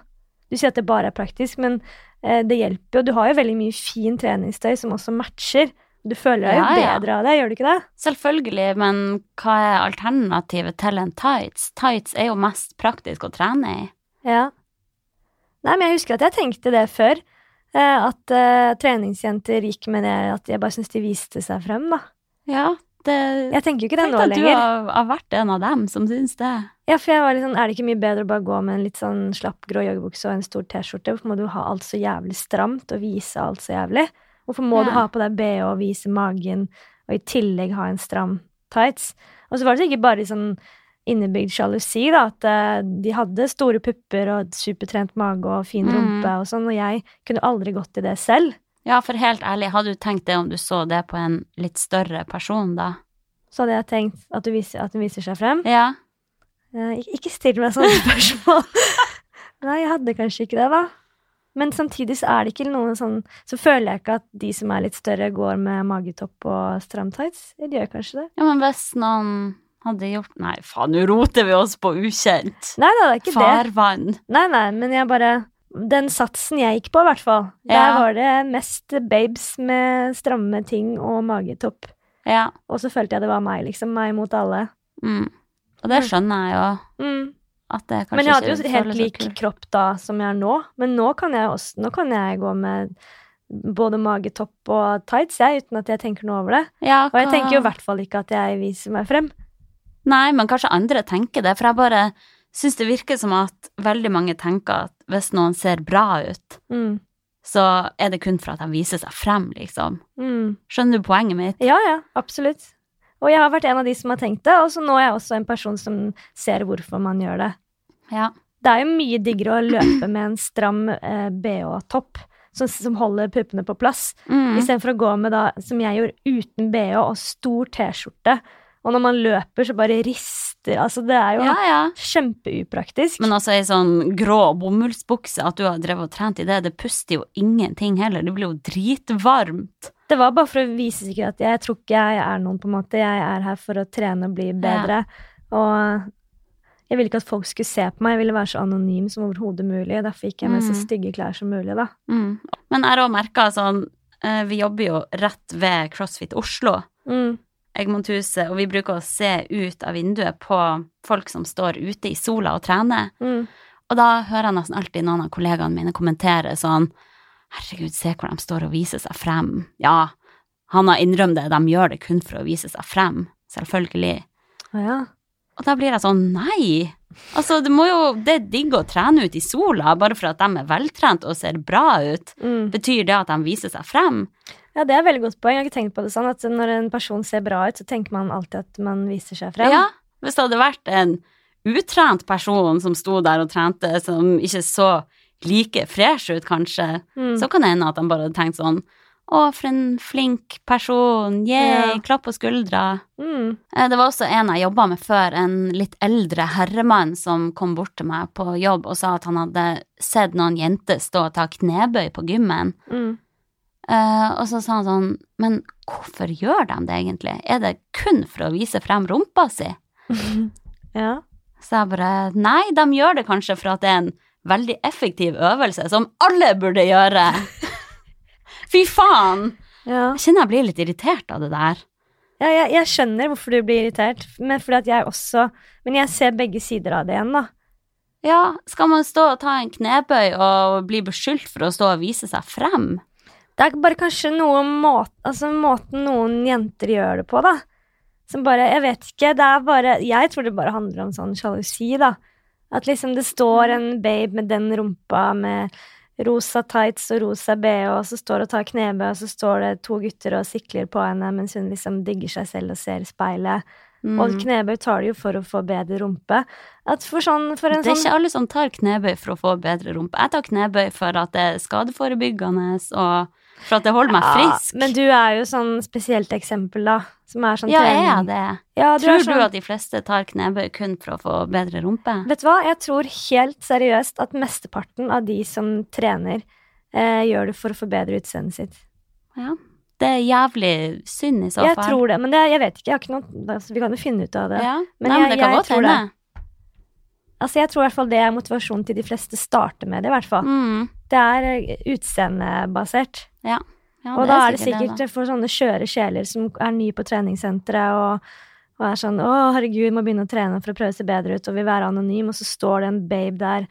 Speaker 2: Du sier at det bare er praktisk, men eh, det hjelper jo. Du har jo veldig mye fin treningstøy som også matcher. Du føler deg jo
Speaker 1: Ja, ja.
Speaker 2: bedre av det, gjør du ikke det?
Speaker 1: Selvfølgelig, men hva er alternativet til en tights? Tights er jo mest praktisk å trene i.
Speaker 2: Ja. Nei, men jeg husker at jeg tenkte det før. eh, At eh, treningsjenter gikk med det at jeg bare syns de viste seg frem, da.
Speaker 1: Ja, det
Speaker 2: Jeg tenker jo ikke det
Speaker 1: Tenk
Speaker 2: nå
Speaker 1: at du
Speaker 2: lenger.
Speaker 1: har, har vært en av dem som syns det.
Speaker 2: Ja, for jeg var litt sånn, Er det ikke mye bedre å bare gå med en litt sånn slapp grå joggebukse og en stor T-skjorte? Hvorfor må du ha alt så jævlig stramt og vise alt så jævlig? Hvorfor må
Speaker 1: Ja.
Speaker 2: du ha på deg BH og vise magen, og i tillegg ha en stram tights? Og så var det sikkert bare sånn innebygd sjalusi, da, at eh, de hadde store pupper og supertrent mage og fin
Speaker 1: Mm.
Speaker 2: rumpe og sånn, og jeg kunne aldri gått i det selv.
Speaker 1: Ja, for helt ærlig, hadde du tenkt det om du så det på en litt større person, da?
Speaker 2: Så hadde jeg tenkt at, du viser, at den viser seg frem.
Speaker 1: Ja.
Speaker 2: Eh, ik- Ikke still meg sånne spørsmål. Nei, jeg hadde kanskje ikke det, da. Men samtidig så er det ikke noen sånn Så føler jeg ikke at de som er litt større, går med magetopp og stram tights. De gjør kanskje det.
Speaker 1: Ja, men hvis noen hadde gjort Nei, faen, nå roter vi oss på ukjent.
Speaker 2: Nei da, det er ikke det.
Speaker 1: Farvann.
Speaker 2: Nei, nei, men jeg bare den satsen jeg gikk på, i hvert fall. Der
Speaker 1: Ja.
Speaker 2: var det mest babes med stramme ting og magetopp.
Speaker 1: Ja.
Speaker 2: Og så følte jeg det var meg, liksom. Meg mot alle.
Speaker 1: Mm. Og det skjønner jeg jo.
Speaker 2: Mm.
Speaker 1: At det kanskje
Speaker 2: Men jeg hadde
Speaker 1: ikke
Speaker 2: jo helt
Speaker 1: føles så
Speaker 2: lik
Speaker 1: kult.
Speaker 2: kropp da som jeg har nå. Men nå kan jeg, også, nå kan jeg gå med både magetopp og tights, jeg, uten at jeg tenker noe over det.
Speaker 1: ja,
Speaker 2: Og jeg
Speaker 1: hva-
Speaker 2: tenker jo i hvert fall ikke at jeg viser meg frem.
Speaker 1: Nei, men kanskje andre tenker det. For jeg bare syns det virker som at veldig mange tenker at hvis noen ser bra ut,
Speaker 2: Mm.
Speaker 1: så er det kun for at de viser seg frem, liksom.
Speaker 2: Mm.
Speaker 1: Skjønner du poenget mitt?
Speaker 2: Ja, ja, absolutt. Og jeg har vært en av de som har tenkt det, og så nå er jeg også en person som ser hvorfor man gjør det.
Speaker 1: Ja.
Speaker 2: Det er jo mye diggere å løpe med en stram eh, bh-topp som, som holder puppene på plass,
Speaker 1: Mm.
Speaker 2: istedenfor å gå med da, som jeg gjorde, uten bh og stor T-skjorte. Og når man løper, så bare rister Altså, det er jo
Speaker 1: Ja, ja.
Speaker 2: kjempeupraktisk.
Speaker 1: Men også ei sånn grå bomullsbukse, at du har drevet og trent i det, det puster jo ingenting heller. Det blir jo dritvarmt.
Speaker 2: Det var bare for å vise sikkert at jeg tror ikke jeg er noen, på en måte. Jeg er her for å trene og bli bedre. Og jeg ville ikke at folk skulle se på meg. Jeg ville være så anonym som overhodet mulig. Derfor gikk jeg med så
Speaker 1: Mm.
Speaker 2: stygge klær som mulig, da.
Speaker 1: Mm. Men jeg har òg merka sånn eh, Vi jobber jo rett ved CrossFit Oslo.
Speaker 2: Mm.
Speaker 1: Egmonthuset, og vi bruker å se ut av vinduet på folk som står ute i sola og trener.
Speaker 2: Mm.
Speaker 1: Og da hører jeg nesten alltid noen av kollegaene mine kommentere sånn Herregud, se hvor de står og viser seg frem. Ja, han har innrømt det, de gjør det kun for å vise seg frem. Selvfølgelig.
Speaker 2: Å ja.
Speaker 1: Og da blir jeg sånn, nei! Altså, det må jo Det er digg å trene ut i sola, bare for at de er veltrent og ser bra ut.
Speaker 2: Mm.
Speaker 1: Betyr det at de viser seg frem?
Speaker 2: ja, det er et veldig godt poeng. Jeg har ikke tenkt på det sånn at når en person ser bra ut, så tenker man alltid at man viser seg frem.
Speaker 1: Ja, hvis det hadde vært en utrent person som sto der og trente, som ikke så like fresh ut, kanskje,
Speaker 2: Mm.
Speaker 1: så kan det hende at han bare hadde tenkt sånn Å, for en flink person. Yeah,
Speaker 2: Ja.
Speaker 1: klapp på skuldra.
Speaker 2: Mm.
Speaker 1: Eh, Det var også en jeg jobba med før, en litt eldre herremann som kom bort til meg på jobb og sa at han hadde sett noen jenter stå og ta knebøy på gymmen.
Speaker 2: Mm.
Speaker 1: Eh, og så sa han sånn Men hvorfor gjør de det egentlig? Er det kun for å vise frem rumpa si?
Speaker 2: ja.
Speaker 1: Så jeg bare Nei, de gjør det kanskje for at det er en veldig effektiv øvelse som alle burde gjøre. Fy faen!
Speaker 2: ja.
Speaker 1: Jeg kjenner jeg blir litt irritert av det der.
Speaker 2: Ja, jeg, jeg skjønner hvorfor du blir irritert, men fordi at jeg også Men jeg ser begge sider av det igjen, da.
Speaker 1: Ja, skal man stå og ta en knebøy og bli beskyldt for å stå og vise seg frem?
Speaker 2: Det er bare kanskje noe måte, altså måten noen jenter gjør det på, da. Som bare Jeg vet ikke. Det er bare Jeg tror det bare handler om sånn sjalusi, da. At liksom det står en babe med den rumpa med rosa tights og rosa bh, og så står det og tar knebøy, og så står det to gutter og sikler på henne mens hun liksom digger seg selv og ser i speilet.
Speaker 1: Mm.
Speaker 2: Og knebøy tar det jo for å få bedre rumpe. At for sånn For en
Speaker 1: Det er
Speaker 2: sånn
Speaker 1: ikke alle som tar knebøy for å få bedre rumpe. Jeg tar knebøy for at det er skadeforebyggende, og for at det holder meg frisk.
Speaker 2: Ja, men du er jo sånn spesielt eksempel, da. Som er sånn
Speaker 1: ja, er
Speaker 2: trening.
Speaker 1: jeg det?
Speaker 2: Ja, du
Speaker 1: Tror
Speaker 2: er sånn,
Speaker 1: du at de fleste tar knebøy kun for å få bedre rumpe?
Speaker 2: Vet du hva, jeg tror helt seriøst at mesteparten av de som trener, eh, gjør det for å forbedre utseendet sitt.
Speaker 1: Ja. Det er jævlig synd i så
Speaker 2: Jeg
Speaker 1: fall.
Speaker 2: tror det, men det, jeg vet ikke. Jeg har ikke noe, altså, vi kan jo finne ut av det.
Speaker 1: Ja.
Speaker 2: Men
Speaker 1: Nei, men
Speaker 2: jeg-
Speaker 1: det kan
Speaker 2: jeg
Speaker 1: godt
Speaker 2: tror
Speaker 1: hende.
Speaker 2: Altså, jeg tror i hvert fall det er motivasjonen til de fleste starter med det, i hvert fall.
Speaker 1: Mm.
Speaker 2: Det er eh, utseendebasert.
Speaker 1: Ja,
Speaker 2: og da er det sikkert
Speaker 1: da.
Speaker 2: for sånne skjøre sjeler som er nye på treningssenteret og, og er sånn 'Å, herregud, må begynne å trene for å prøve å se bedre ut', og vil være anonym, og så står det en babe der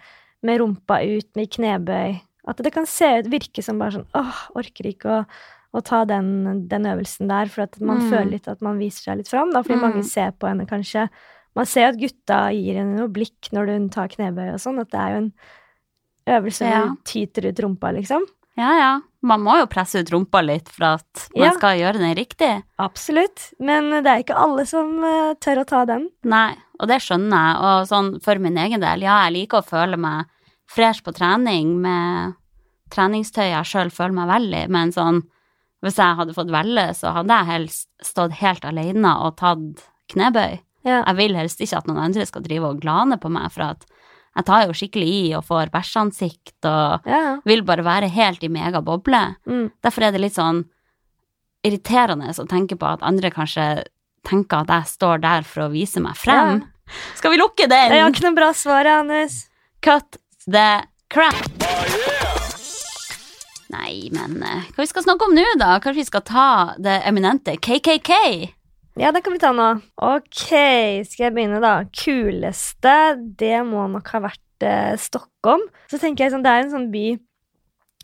Speaker 2: med rumpa ut, med knebøy At det kan se ut, virke som bare sånn 'Åh, orker ikke å, å ta den, den øvelsen der', for at man
Speaker 1: Mm.
Speaker 2: føler litt at man viser seg litt fram, da, fordi
Speaker 1: Mm.
Speaker 2: mange ser på henne, kanskje. Man ser jo at gutta gir henne noe blikk når hun tar knebøy og sånn, at det er jo en øvelse hvor
Speaker 1: Ja.
Speaker 2: hun tyter ut rumpa, liksom.
Speaker 1: Ja, ja. Man må jo presse ut rumpa litt for at man
Speaker 2: Ja.
Speaker 1: skal gjøre den riktig.
Speaker 2: Absolutt, men det er ikke alle som eh, tør å ta den.
Speaker 1: Nei, og det skjønner jeg. Og sånn for min egen del, ja, jeg liker å føle meg fresh på trening med treningstøy jeg sjøl føler meg vel i, men sånn hvis jeg hadde fått velge, så hadde jeg helst stått helt alene og tatt knebøy.
Speaker 2: Ja.
Speaker 1: Jeg vil helst ikke at noen andre skal drive og glane på meg, for at jeg tar jo skikkelig i og får bæsjansikt og
Speaker 2: Ja.
Speaker 1: vil bare være helt i mega boble.
Speaker 2: Mm.
Speaker 1: Derfor er det litt sånn irriterende å tenke på at andre kanskje tenker at jeg står der for å vise meg frem. Skal vi lukke den?
Speaker 2: Jeg har ikke noe bra svar, Anders.
Speaker 1: Cut the crap. Nei, men eh, hva vi skal snakke om nå, da? Kanskje vi skal ta det eminente KKK?
Speaker 2: Ja, det kan vi ta nå. Ok, skal jeg begynne, da? Kuleste, det må nok ha vært eh, Stockholm. Så tenker jeg sånn, Det er en sånn by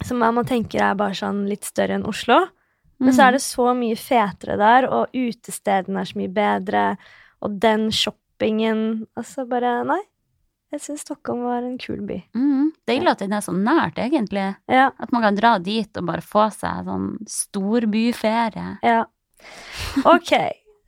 Speaker 2: som man tenker er bare sånn litt større enn Oslo. Men så er det så mye fetere der, og utestedene er så mye bedre, og den shoppingen Altså bare Nei. Jeg syns Stockholm var en kul by.
Speaker 1: Mhm. Deilig at den er så nært, egentlig.
Speaker 2: Ja,
Speaker 1: At man kan dra dit og bare få seg sånn storbyferie.
Speaker 2: ja. Ok.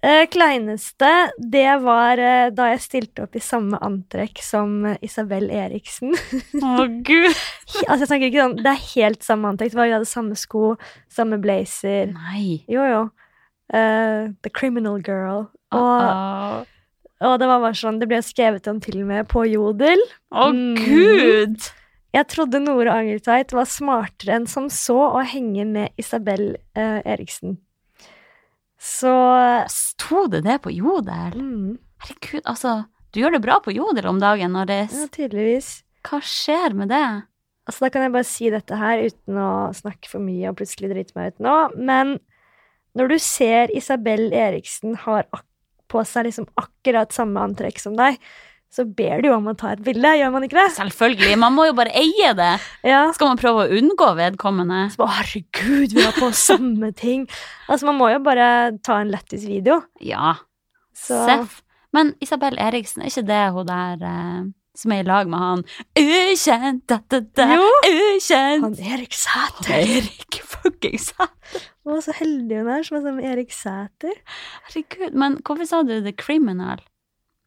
Speaker 2: Eh, kleineste, det var eh, da jeg stilte opp i samme antrekk som eh, Isabel Eriksen.
Speaker 1: Å, gud!
Speaker 2: He- altså jeg snakker ikke sånn, Det er helt samme antrekk. Det var- Vi hadde samme sko, samme blazer.
Speaker 1: Nei.
Speaker 2: Jo, jo. Eh, the Criminal Girl.
Speaker 1: Ah,
Speaker 2: Og,
Speaker 1: Å,
Speaker 2: og det var bare sånn, det ble skrevet om til og med på Jodel.
Speaker 1: Å,
Speaker 2: Mm.
Speaker 1: gud!
Speaker 2: Jeg trodde Nore Angeltveit var smartere enn som så å henge med Isabel eh, Eriksen. Så
Speaker 1: Sto det det på Jodel?
Speaker 2: mm,
Speaker 1: Herregud, altså. Du gjør det bra på Jodel om dagen, Norris.
Speaker 2: ja, tydeligvis.
Speaker 1: Hva skjer med det?
Speaker 2: Altså, da kan jeg bare si dette her uten å snakke for mye og plutselig drite meg ut nå, men når du ser Isabel Eriksen har ak på seg liksom akkurat samme antrekk som deg, så ber du jo om å ta et bilde, gjør man ikke det?
Speaker 1: Selvfølgelig, man må jo bare eie det.
Speaker 2: Ja.
Speaker 1: Skal man prøve å unngå vedkommende?
Speaker 2: Så bare, herregud, vi har på samme ting. Altså, man må jo bare ta en lettis video.
Speaker 1: Ja,
Speaker 2: Så,
Speaker 1: Seff. Men Isabel Eriksen, er ikke det hun der eh, som er i lag med han Ukjent, da, da, da,
Speaker 2: Jo.
Speaker 1: ukjent
Speaker 2: han Erik Sæter.
Speaker 1: Erik fuckings
Speaker 2: Å, så heldig hun er som er sammen med Erik Sæter.
Speaker 1: Herregud, men hvorfor sa du The Criminal?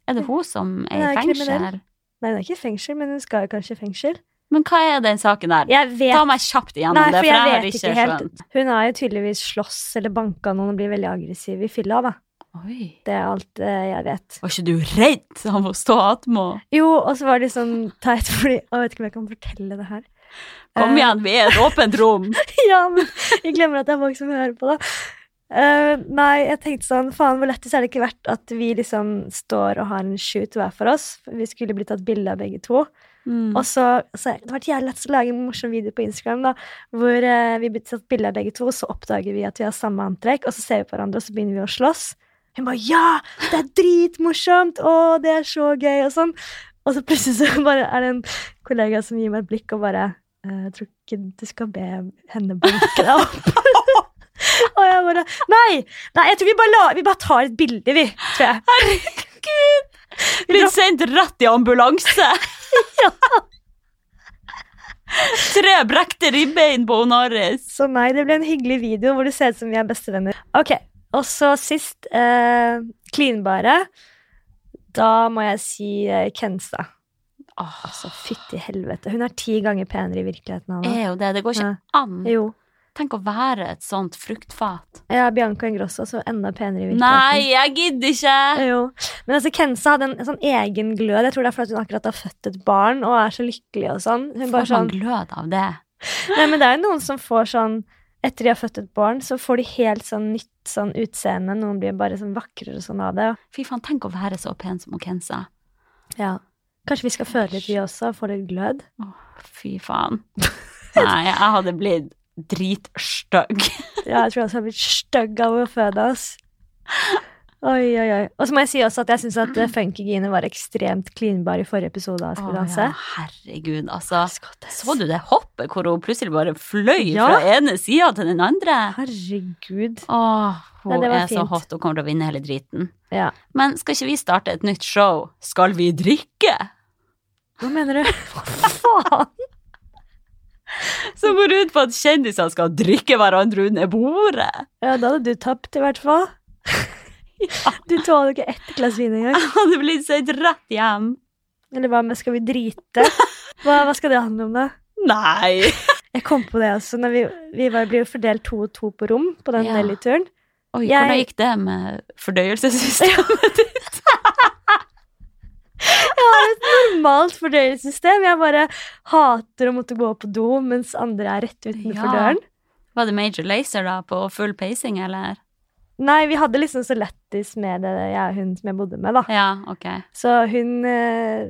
Speaker 1: Er det hun som er i
Speaker 2: Hun er
Speaker 1: fengsel?
Speaker 2: kriminell. Nei, hun er ikke i fengsel, men hun skal jo kanskje i fengsel.
Speaker 1: Men hva er den saken der?
Speaker 2: Jeg vet
Speaker 1: Ta meg kjapt igjennom
Speaker 2: Nei,
Speaker 1: det,
Speaker 2: for
Speaker 1: for
Speaker 2: jeg
Speaker 1: jeg, har
Speaker 2: vet
Speaker 1: ikke,
Speaker 2: ikke helt.
Speaker 1: skjønt.
Speaker 2: Hun har jo tydeligvis slåss eller banka noen og blir veldig aggressiv i fylla, da.
Speaker 1: Oi.
Speaker 2: Det er alt eh, jeg vet.
Speaker 1: Var ikke du redd av å stå attmed?
Speaker 2: Jo, og så var det sånn teit, fordi Jeg vet ikke om jeg kan fortelle det her.
Speaker 1: Kom
Speaker 2: Eh,
Speaker 1: igjen, vi er i et åpent rom.
Speaker 2: ja, men jeg glemmer at det er folk som hører på, da. Eh, nei, jeg tenkte sånn Faen, hvor lættis er det ikke vært at vi liksom står og har en shoot hver for oss? Vi skulle blitt tatt bilde av begge to.
Speaker 1: Mm.
Speaker 2: Og så, så Det har vært jævlig lett å lage en morsom video på Instagram da, hvor eh, vi blir tatt bilde av begge to, og så oppdager vi at vi har samme antrekk, og så ser vi på hverandre, og så begynner vi å slåss. Hun bare 'ja, det er dritmorsomt', 'å, det er så gøy', og sånn. Og så plutselig så bare er det en kollega som gir meg et blikk og bare eh, 'Jeg tror ikke du skal be henne banke deg opp'. og jeg bare 'nei, nei, jeg tror vi bare, la, vi bare tar et bilde, vi', tror jeg.
Speaker 1: Blir sendt rett i ambulanse. Tre brekte ribbein på Onaris.
Speaker 2: Så nei, det ble en hyggelig video hvor det ser ut som vi er bestevenner. Ok, Og så sist, eh, klinbare. Da må jeg si eh, Kenstad.
Speaker 1: Ah,
Speaker 2: Altså, fytti helvete. Hun er ti ganger penere i virkeligheten. Anna.
Speaker 1: er jo det. Det går
Speaker 2: Ja.
Speaker 1: ikke an.
Speaker 2: Jo.
Speaker 1: Tenk å være et sånt fruktfat.
Speaker 2: Ja, Bianca Ingrosso så enda penere i virkeligheten.
Speaker 1: Nei, jeg gidder ikke!
Speaker 2: Jo. Men altså, Kensa hadde en, en sånn egen glød. Jeg tror det er fordi hun akkurat har født et barn og er så lykkelig og sånn. Hun
Speaker 1: Får
Speaker 2: bare
Speaker 1: man
Speaker 2: sånn
Speaker 1: glød av det?
Speaker 2: Nei, men det er jo noen som får sånn Etter de har født et barn, så får de helt sånn nytt sånn utseende. Noen blir bare sånn vakrere sånn av det.
Speaker 1: Fy faen, tenk å være så pen som Kensa.
Speaker 2: Ja. Kanskje vi skal føde litt, vi også, og få litt glød?
Speaker 1: Fy faen. Nei, jeg hadde blitt dritstygg.
Speaker 2: Ja, jeg tror også jeg har blitt stygg av å føde oss. Oi, oi, oi. Og så må jeg si også at jeg syns at eh, Funkygine var ekstremt klinbar i forrige episode av Skal vi danse.
Speaker 1: Å, ja, herregud, altså.
Speaker 2: Skottes.
Speaker 1: Så du det hoppet hvor hun plutselig bare fløy
Speaker 2: Ja.
Speaker 1: fra ene sida til den andre?
Speaker 2: Herregud.
Speaker 1: Åh, hun
Speaker 2: Nei, det var
Speaker 1: er så
Speaker 2: fint.
Speaker 1: hot, hun kommer til å vinne hele driten.
Speaker 2: Ja.
Speaker 1: Men skal ikke vi starte et nytt show? Skal vi drikke?
Speaker 2: Hva mener du? Hva faen?
Speaker 1: Som går ut på at kjendiser skal drikke hverandre under bordet.
Speaker 2: Ja, da hadde du tapt, i hvert fall. Du tåler ikke ett glass vin engang.
Speaker 1: Jeg hadde blitt sendt rett hjem.
Speaker 2: Eller hva med skal vi drite? Hva, hva skal det handle om, da?
Speaker 1: Nei!
Speaker 2: Jeg kom på det også. Når vi, vi var, ble jo fordelt to og to på rom på den
Speaker 1: Ja.
Speaker 2: Nelly-turen.
Speaker 1: Oi,
Speaker 2: Jeg-
Speaker 1: hvordan gikk det med fordøyelsessystemet?
Speaker 2: normalt fordøyelsessystem. Jeg bare hater å måtte gå på do mens andre er rett utenfor
Speaker 1: Ja.
Speaker 2: døren.
Speaker 1: Var det major laser da, på full pacing, eller?
Speaker 2: Nei, vi hadde liksom så lættis med det, jeg og hun som jeg bodde med, da.
Speaker 1: Ja, ok.
Speaker 2: Så hun eh,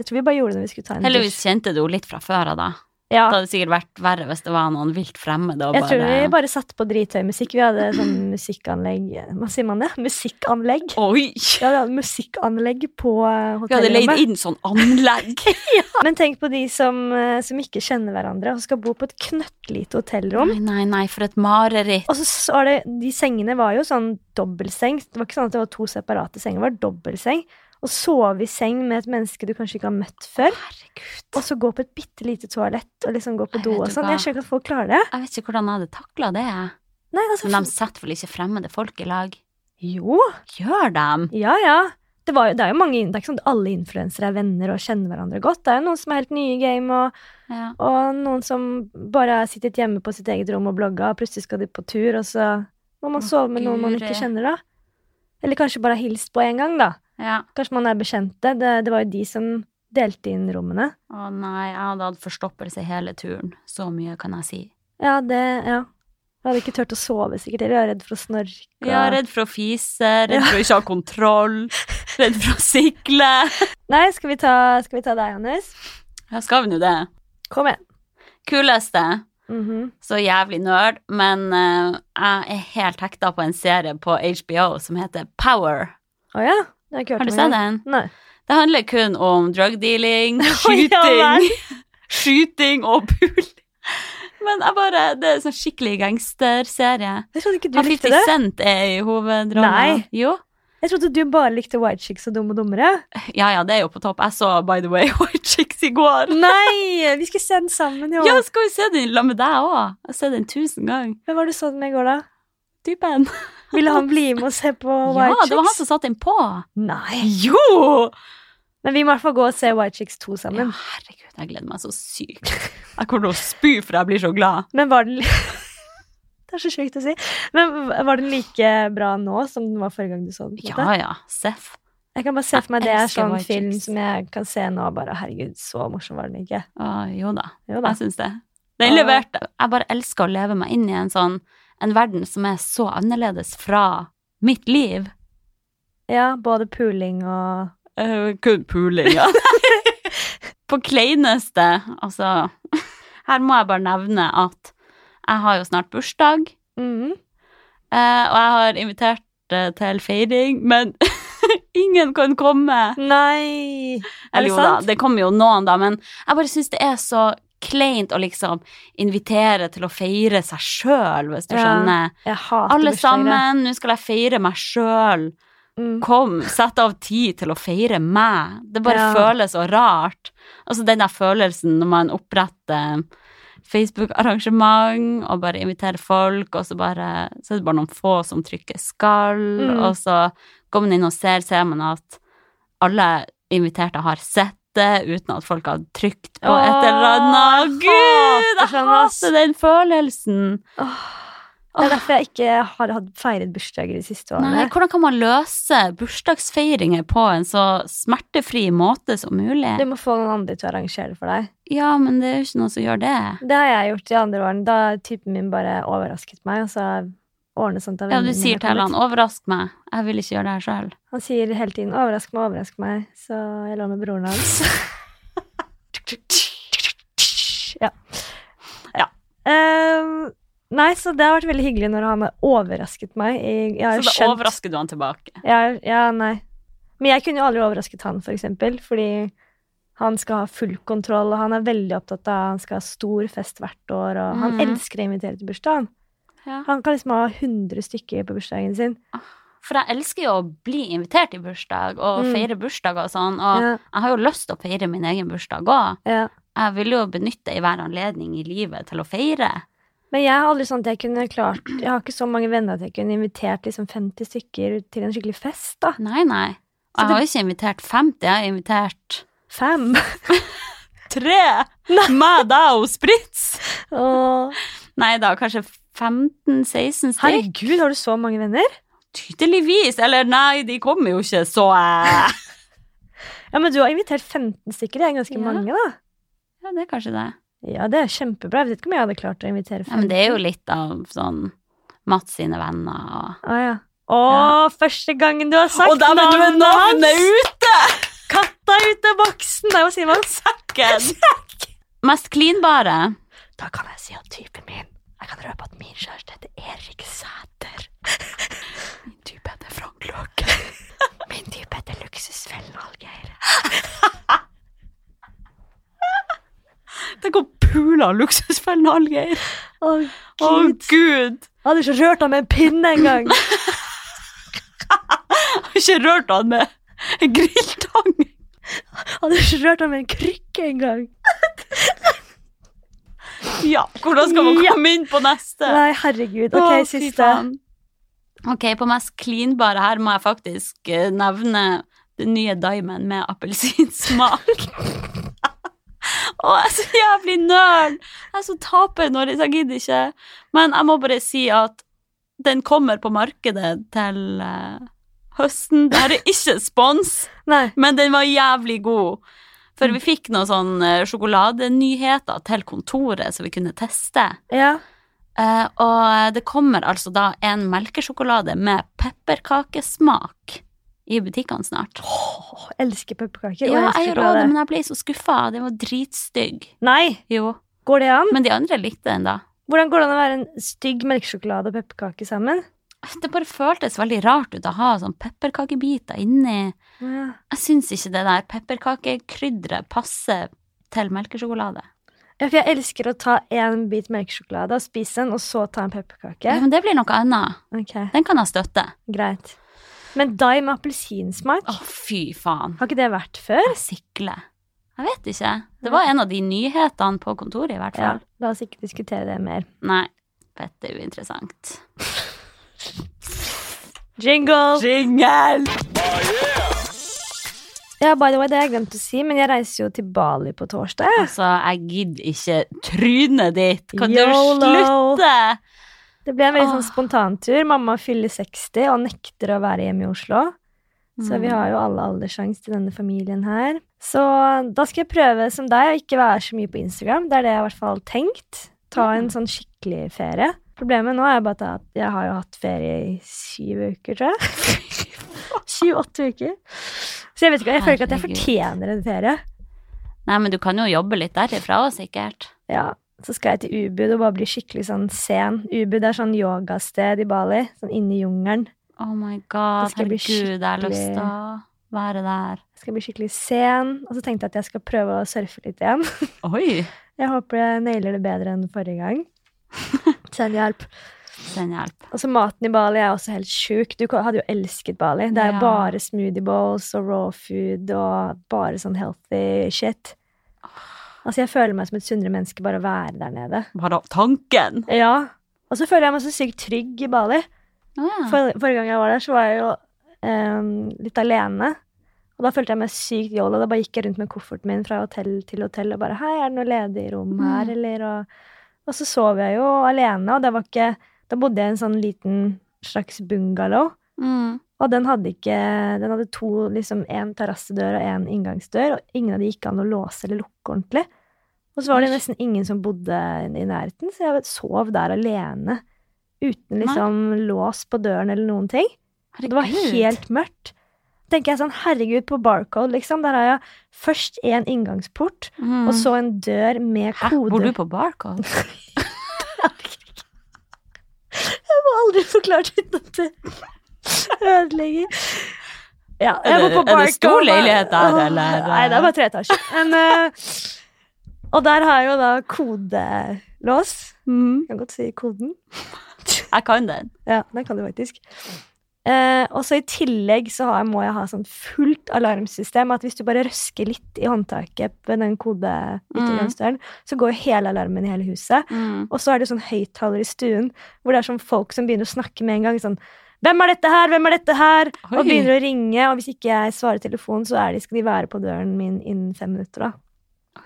Speaker 2: Jeg tror vi bare gjorde det når vi skulle ta en
Speaker 1: Heldigvis
Speaker 2: dusj.
Speaker 1: kjente du henne litt fra før av, da.
Speaker 2: Ja,
Speaker 1: Det hadde sikkert vært verre hvis det var noen vilt fremmede og
Speaker 2: jeg tror vi
Speaker 1: bare
Speaker 2: bare satte på drithøy musikk. Vi hadde sånn musikkanlegg Hva sier man det? Musikkanlegg.
Speaker 1: Oi!
Speaker 2: Ja, vi hadde musikkanlegg på eh,
Speaker 1: Vi hadde leid
Speaker 2: hotellrommet.
Speaker 1: inn sånn anlegg.
Speaker 2: Men tenk på de som, eh, som ikke kjenner hverandre, og skal bo på et knøttlite hotellrom.
Speaker 1: Nei, nei, nei, for et mareritt.
Speaker 2: Og så s- var det, De sengene var jo sånn dobbeltseng. Det var ikke sånn at det var to separate senger. det var dobbeltseng. Og sove i seng med et menneske du kanskje ikke har møtt før. Og
Speaker 1: Herregud.
Speaker 2: så gå på et bitte lite toalett og liksom gå på
Speaker 1: Nei,
Speaker 2: do
Speaker 1: vet
Speaker 2: og
Speaker 1: du
Speaker 2: sånn.
Speaker 1: hva?
Speaker 2: Jeg skjønner ikke at folk klarer det.
Speaker 1: Jeg vet ikke hvordan jeg hadde takla det.
Speaker 2: Nei, altså,
Speaker 1: Men de setter vel ikke fremmede folk i lag?
Speaker 2: Jo,
Speaker 1: Gjør dem?
Speaker 2: ja, ja. Det, var, jo- det er jo mange, det er ikke sånn at alle influensere er venner og kjenner hverandre godt. Det er jo noen som er helt nye i game, og,
Speaker 1: Ja.
Speaker 2: og noen som bare har sittet hjemme på sitt eget rom og blogga, og plutselig skal de på tur, og så må man
Speaker 1: Å,
Speaker 2: sove med noen man
Speaker 1: guri.
Speaker 2: ikke kjenner, da. Eller kanskje bare ha hilst på en gang, da.
Speaker 1: ja.
Speaker 2: Kanskje man er bekjente. Det, det var jo de som delte inn rommene.
Speaker 1: Å nei, jeg hadde hatt forstoppelse hele turen. Så mye kan jeg si.
Speaker 2: Ja, det, ja. Jeg hadde ikke turt å sove, sikkert. Eller jeg er redd for å snorke. og-
Speaker 1: Ja, redd for å fise, redd for å ikke ha kontroll, redd for å sikle.
Speaker 2: Nei, skal vi ta, skal vi ta deg, Hannes?
Speaker 1: Ja, skal vi nå det?
Speaker 2: Kom igjen.
Speaker 1: Kuleste.
Speaker 2: Mhm.
Speaker 1: Så jævlig nerd, men eh, jeg er helt hekta på en serie på HBO som heter Power.
Speaker 2: Å ja? Det har jeg ikke hørt
Speaker 1: Har du
Speaker 2: om
Speaker 1: sett
Speaker 2: engang.
Speaker 1: den?
Speaker 2: Nei.
Speaker 1: Det handler kun om drugdealing,
Speaker 2: ja
Speaker 1: skyting,
Speaker 2: vel.
Speaker 1: skyting og puling. Men jeg bare, det er en sånn skikkelig gangsterserie.
Speaker 2: Jeg trodde ikke du
Speaker 1: Har
Speaker 2: likte
Speaker 1: 50
Speaker 2: det.
Speaker 1: Cent er i hovedrollen.
Speaker 2: Nei.
Speaker 1: Jo.
Speaker 2: Jeg trodde du bare likte White Chicks og Dumme og dummere.
Speaker 1: Ja, ja, det er jo på topp. Jeg så By the Way White Chicks i går.
Speaker 2: Nei! Vi skulle se den sammen, jo.
Speaker 1: Ja, skal vi se den sammen med deg òg? Jeg har sett den tusen ganger.
Speaker 2: Hvem var det du så den med i går, da?
Speaker 1: Typen.
Speaker 2: Ville han bli med og se på White
Speaker 1: ja,
Speaker 2: Chicks?
Speaker 1: det var han som satte den på.
Speaker 2: Nei.
Speaker 1: Jo!
Speaker 2: Men vi må i hvert fall gå og se White Chicks 2
Speaker 1: Ja,
Speaker 2: sammen.
Speaker 1: herregud, jeg gleder meg så sykt. Jeg kommer til å spy, for jeg blir så glad.
Speaker 2: Men var den Det er så sjukt å si. Men var den like bra nå som den var forrige gang du så den? på en
Speaker 1: Ja
Speaker 2: måte?
Speaker 1: ja, Seff.
Speaker 2: Jeg kan bare se for meg
Speaker 1: Jeg
Speaker 2: det er
Speaker 1: elsker
Speaker 2: sånn
Speaker 1: White
Speaker 2: film
Speaker 1: Chicks.
Speaker 2: som jeg kan se nå og bare Herregud, så morsom var den ikke.
Speaker 1: Å, Jo da,
Speaker 2: Jo da.
Speaker 1: jeg syns det. Den
Speaker 2: Ja.
Speaker 1: leverte. Jeg bare elsker å leve meg inn i en sånn en verden som er så annerledes fra mitt liv.
Speaker 2: Ja, både puling og
Speaker 1: Eh, kun puling, ja. På kleineste, altså Her må jeg bare nevne at jeg har jo snart bursdag,
Speaker 2: Mhm.
Speaker 1: eh, og jeg har invitert eh, til feiring, men ingen kan komme.
Speaker 2: Nei! Er
Speaker 1: Eller
Speaker 2: det
Speaker 1: jo da,
Speaker 2: sant?
Speaker 1: det kommer jo noen, da, men jeg bare syns det er så kleint å liksom invitere til å feire seg sjøl, hvis du
Speaker 2: Ja,
Speaker 1: skjønner.
Speaker 2: Jeg hater
Speaker 1: Alle
Speaker 2: bursdager, jeg.
Speaker 1: sammen, nå skal jeg feire meg sjøl.
Speaker 2: Mm.
Speaker 1: Kom, sett av tid til å feire meg. Det bare
Speaker 2: Ja.
Speaker 1: føles så rart. Altså den der følelsen når man oppretter Facebook-arrangement og bare inviterer folk, og så, bare, så er det bare noen få som trykker 'skal',
Speaker 2: Mm.
Speaker 1: og så går man inn og ser, ser man at alle inviterte har sett det uten at folk har trykt på et eller
Speaker 2: Åh,
Speaker 1: annet.
Speaker 2: jeg
Speaker 1: Gud, jeg
Speaker 2: hater sånn, ass.
Speaker 1: hater den følelsen!
Speaker 2: Åh. Det er derfor jeg ikke har hatt feiret bursdager de siste
Speaker 1: Nei,
Speaker 2: årene.
Speaker 1: hvordan kan man løse bursdagsfeiringer på en så smertefri måte som mulig?
Speaker 2: Du må få noen andre til å arrangere det for deg.
Speaker 1: Ja, men det er jo ikke noen som gjør det.
Speaker 2: Det har jeg gjort de andre årene. Da har typen min bare overrasket meg. Og så ordnet sånt av
Speaker 1: Ja, du
Speaker 2: vennene mine
Speaker 1: sier til
Speaker 2: kommet.
Speaker 1: han 'overrask meg', jeg vil ikke gjøre det her sjøl.
Speaker 2: Han sier hele tiden 'overrask meg, overrask meg', så jeg lå med broren hans. ja.
Speaker 1: Ja.
Speaker 2: Ehm, nei, så det har vært veldig hyggelig når han har overrasket meg. Jeg, jeg har
Speaker 1: Så
Speaker 2: jo
Speaker 1: da
Speaker 2: skjønt
Speaker 1: overrasker du han tilbake.
Speaker 2: Ja, ja, nei. Men jeg kunne jo aldri overrasket han, for eksempel, fordi han skal ha full kontroll, og han er veldig opptatt av han skal ha stor fest hvert år, og han
Speaker 1: Mhm.
Speaker 2: elsker å invitere til bursdag. han.
Speaker 1: Ja.
Speaker 2: Han kan liksom ha 100 stykker på bursdagen sin.
Speaker 1: For jeg elsker jo å bli invitert i bursdag, og
Speaker 2: Mm.
Speaker 1: feire bursdag og sånn, og
Speaker 2: Ja,
Speaker 1: jeg har jo lyst til å feire min egen bursdag òg.
Speaker 2: ja.
Speaker 1: Jeg vil jo benytte i hver anledning i livet til å feire.
Speaker 2: Men jeg har aldri sånn at jeg kunne klart Jeg har ikke så mange venner at jeg kunne invitert liksom 50 stykker til en skikkelig fest, da.
Speaker 1: Nei, nei. Og
Speaker 2: Så
Speaker 1: Jeg
Speaker 2: det-
Speaker 1: har jo ikke invitert 50, jeg har invitert
Speaker 2: Fem!
Speaker 1: tre. Meg, deg og Spritz.
Speaker 2: Og,
Speaker 1: Nei da, kanskje 15-16 stykk.
Speaker 2: herregud, har du så mange venner?
Speaker 1: Tydeligvis. Eller nei, de kommer jo ikke, så eh.
Speaker 2: Ja, men du har invitert 15 stykker. Det er ganske
Speaker 1: Ja.
Speaker 2: mange, da.
Speaker 1: Ja, det er kanskje det.
Speaker 2: Ja, det er kjempebra. Jeg vet ikke om jeg hadde klart å invitere 15.
Speaker 1: Ja, men det er jo litt av sånn Mats sine venner og
Speaker 2: Å ja. Å, Ah, første gangen du har sagt
Speaker 1: Og der ble du
Speaker 2: navnet
Speaker 1: navnet
Speaker 2: hans!
Speaker 1: ute!
Speaker 2: Katta ut av boksen! Nei, hva sier man?
Speaker 1: Sekken! Mest klinbare.
Speaker 2: Da kan jeg si at typen min Jeg kan røpe at min kjæreste heter Erik Sæter. Min type heter Frank Løke. Min type heter Luksusfellen Algeir.
Speaker 1: Tenk å pule av luksusfellen Hallgeir.
Speaker 2: Å,
Speaker 1: Å,
Speaker 2: gud.
Speaker 1: gud!
Speaker 2: Jeg hadde ikke rørt ham med en pinne engang.
Speaker 1: Jeg har ikke rørt han med en grilltang.
Speaker 2: Hadde ikke rørt ham med en krykke engang.
Speaker 1: Ja, hvordan skal man
Speaker 2: Ja.
Speaker 1: komme inn på neste?
Speaker 2: Nei, herregud.
Speaker 1: Å,
Speaker 2: Ok,
Speaker 1: fy
Speaker 2: siste.
Speaker 1: faen. Ok, på mest klinbare her må jeg faktisk eh, nevne den nye Diamond med appelsinsmak. Å, jeg er så jævlig nørn! Jeg er så taper når jeg gidder ikke. Men jeg må bare si at den kommer på markedet til eh, høsten. Det her er ikke spons,
Speaker 2: Nei.
Speaker 1: men den var jævlig god. For vi fikk noen sånne eh, sjokoladenyheter til kontoret, så vi kunne teste.
Speaker 2: Ja.
Speaker 1: Eh, og det kommer altså da en melkesjokolade med pepperkakesmak i butikkene snart.
Speaker 2: Åh, elsker pepperkaker. og
Speaker 1: ja, jeg gjør
Speaker 2: elsker
Speaker 1: også det,
Speaker 2: sjokolade.
Speaker 1: men jeg ble så skuffa. Den var dritstygg.
Speaker 2: Nei,
Speaker 1: Jo.
Speaker 2: går det an?
Speaker 1: Men de andre likte den, da.
Speaker 2: Hvordan går det an å være en stygg melkesjokolade og pepperkake sammen?
Speaker 1: Det bare føltes veldig rart ut å ha sånn pepperkakebiter inni.
Speaker 2: Ja.
Speaker 1: Jeg syns ikke det der pepperkakekrydderet passer til melkesjokolade.
Speaker 2: Ja, for jeg elsker å ta en bit melkesjokolade og spise den, og så ta en pepperkake.
Speaker 1: Ja, men det blir noe annet.
Speaker 2: Ok,
Speaker 1: Den kan jeg støtte.
Speaker 2: greit. Men dai med appelsinsmak,
Speaker 1: Å, fy faen.
Speaker 2: har ikke det vært før?
Speaker 1: Jeg sikler. Jeg vet ikke. Det var en av de nyhetene på kontoret, i hvert fall.
Speaker 2: Ja, la oss ikke diskutere det mer.
Speaker 1: Nei. Fett er uinteressant.
Speaker 2: Jingle!
Speaker 1: Jingle!
Speaker 2: Ja, by the way, det har jeg glemt å si, men jeg reiser jo til Bali på torsdag.
Speaker 1: Altså, jeg gidder ikke trynet ditt. Kan du
Speaker 2: YOLO.
Speaker 1: slutte?
Speaker 2: Det ble en veldig sånn
Speaker 1: Åh.
Speaker 2: spontantur. Mamma fyller 60 og nekter å være hjemme i Oslo. Så vi
Speaker 1: Mm.
Speaker 2: har jo alle alderssjanse til denne familien her. Så da skal jeg prøve som deg å ikke være så mye på Instagram. Det er det jeg i hvert fall har tenkt. Ta en sånn skikkelig ferie. Problemet nå er bare at jeg har jo hatt ferie i syv uker, tror jeg. Syv-åtte uker. Så jeg vet ikke, jeg føler ikke at jeg
Speaker 1: Herregud.
Speaker 2: fortjener en ferie.
Speaker 1: Nei, men du kan jo jobbe litt derifra også, sikkert.
Speaker 2: Ja, så skal jeg til Ubud og bare bli skikkelig sånn sen. Ubud er sånn yogasted i Bali, sånn inne i jungelen.
Speaker 1: Oh my god,
Speaker 2: Det skal bli
Speaker 1: herregud, jeg har lyst til å være der.
Speaker 2: Jeg skal bli skikkelig sen, og så tenkte jeg at jeg skal prøve å surfe litt igjen.
Speaker 1: Oi!
Speaker 2: Jeg håper jeg nailer det bedre enn forrige gang. Selvhjelp.
Speaker 1: Send hjelp.
Speaker 2: Altså Maten i Bali er også helt sjuk. Du hadde jo elsket Bali. Det er
Speaker 1: Ja.
Speaker 2: bare smoothie bowls og raw food og bare sånn healthy shit. Altså Jeg føler meg som et sunnere menneske bare å være der nede.
Speaker 1: Bare tanken.
Speaker 2: Ja. Og så føler jeg meg så sykt trygg i Bali.
Speaker 1: Å ja.
Speaker 2: For, forrige gang jeg var der, så var jeg jo em, litt alene. Og da følte jeg meg sykt jolly. Da bare gikk jeg rundt med kofferten min fra hotell til hotell og bare Hei, er det noe ledig rom her,
Speaker 1: Mm.
Speaker 2: eller? Og, og så sov jeg jo alene, og det var ikke Da bodde jeg i en sånn liten slags bungalow.
Speaker 1: Mm.
Speaker 2: Og den hadde ikke Den hadde to, liksom én terrassedør og én inngangsdør, og ingen av de gikk an å låse eller lukke ordentlig. Og så var det
Speaker 1: Oi.
Speaker 2: nesten ingen som bodde i nærheten, så jeg sov der alene. Uten liksom lås på døren eller noen ting. Og
Speaker 1: Herregud.
Speaker 2: Det var helt mørkt. Tenker jeg sånn, herregud, på Barcode, liksom. Der har jeg først en inngangsport,
Speaker 1: mm.
Speaker 2: og så en dør med
Speaker 1: Hæ, bor du
Speaker 2: kode.
Speaker 1: på Barcode?
Speaker 2: Jeg må aldri forklare det dette. Ødelegger. Ja, jeg
Speaker 1: Er
Speaker 2: bor
Speaker 1: det-
Speaker 2: på
Speaker 1: er det
Speaker 2: Barcode.
Speaker 1: stor leilighet der,
Speaker 2: Åh,
Speaker 1: eller?
Speaker 2: Nei, det er bare tre etasjer. Men, eh, og der har jeg jo da kodelås.
Speaker 1: Mm.
Speaker 2: Jeg kan godt si koden.
Speaker 1: Jeg kan den.
Speaker 2: Ja, den kan du faktisk. Eh, og så i tillegg så har, må jeg ha sånn fullt alarmsystem. At hvis du bare røsker litt i håndtaket på den kodeyttergangsdøren, så går jo hele alarmen i hele huset.
Speaker 1: Mm.
Speaker 2: Og så er det sånn høyttaler i stuen hvor det er sånn folk som begynner å snakke med en gang. sånn hvem er dette her? Hvem er dette her?
Speaker 1: Oi.
Speaker 2: Og begynner å ringe. Og hvis ikke jeg svarer telefonen, så er de, skal de være på døren min innen fem minutter. da.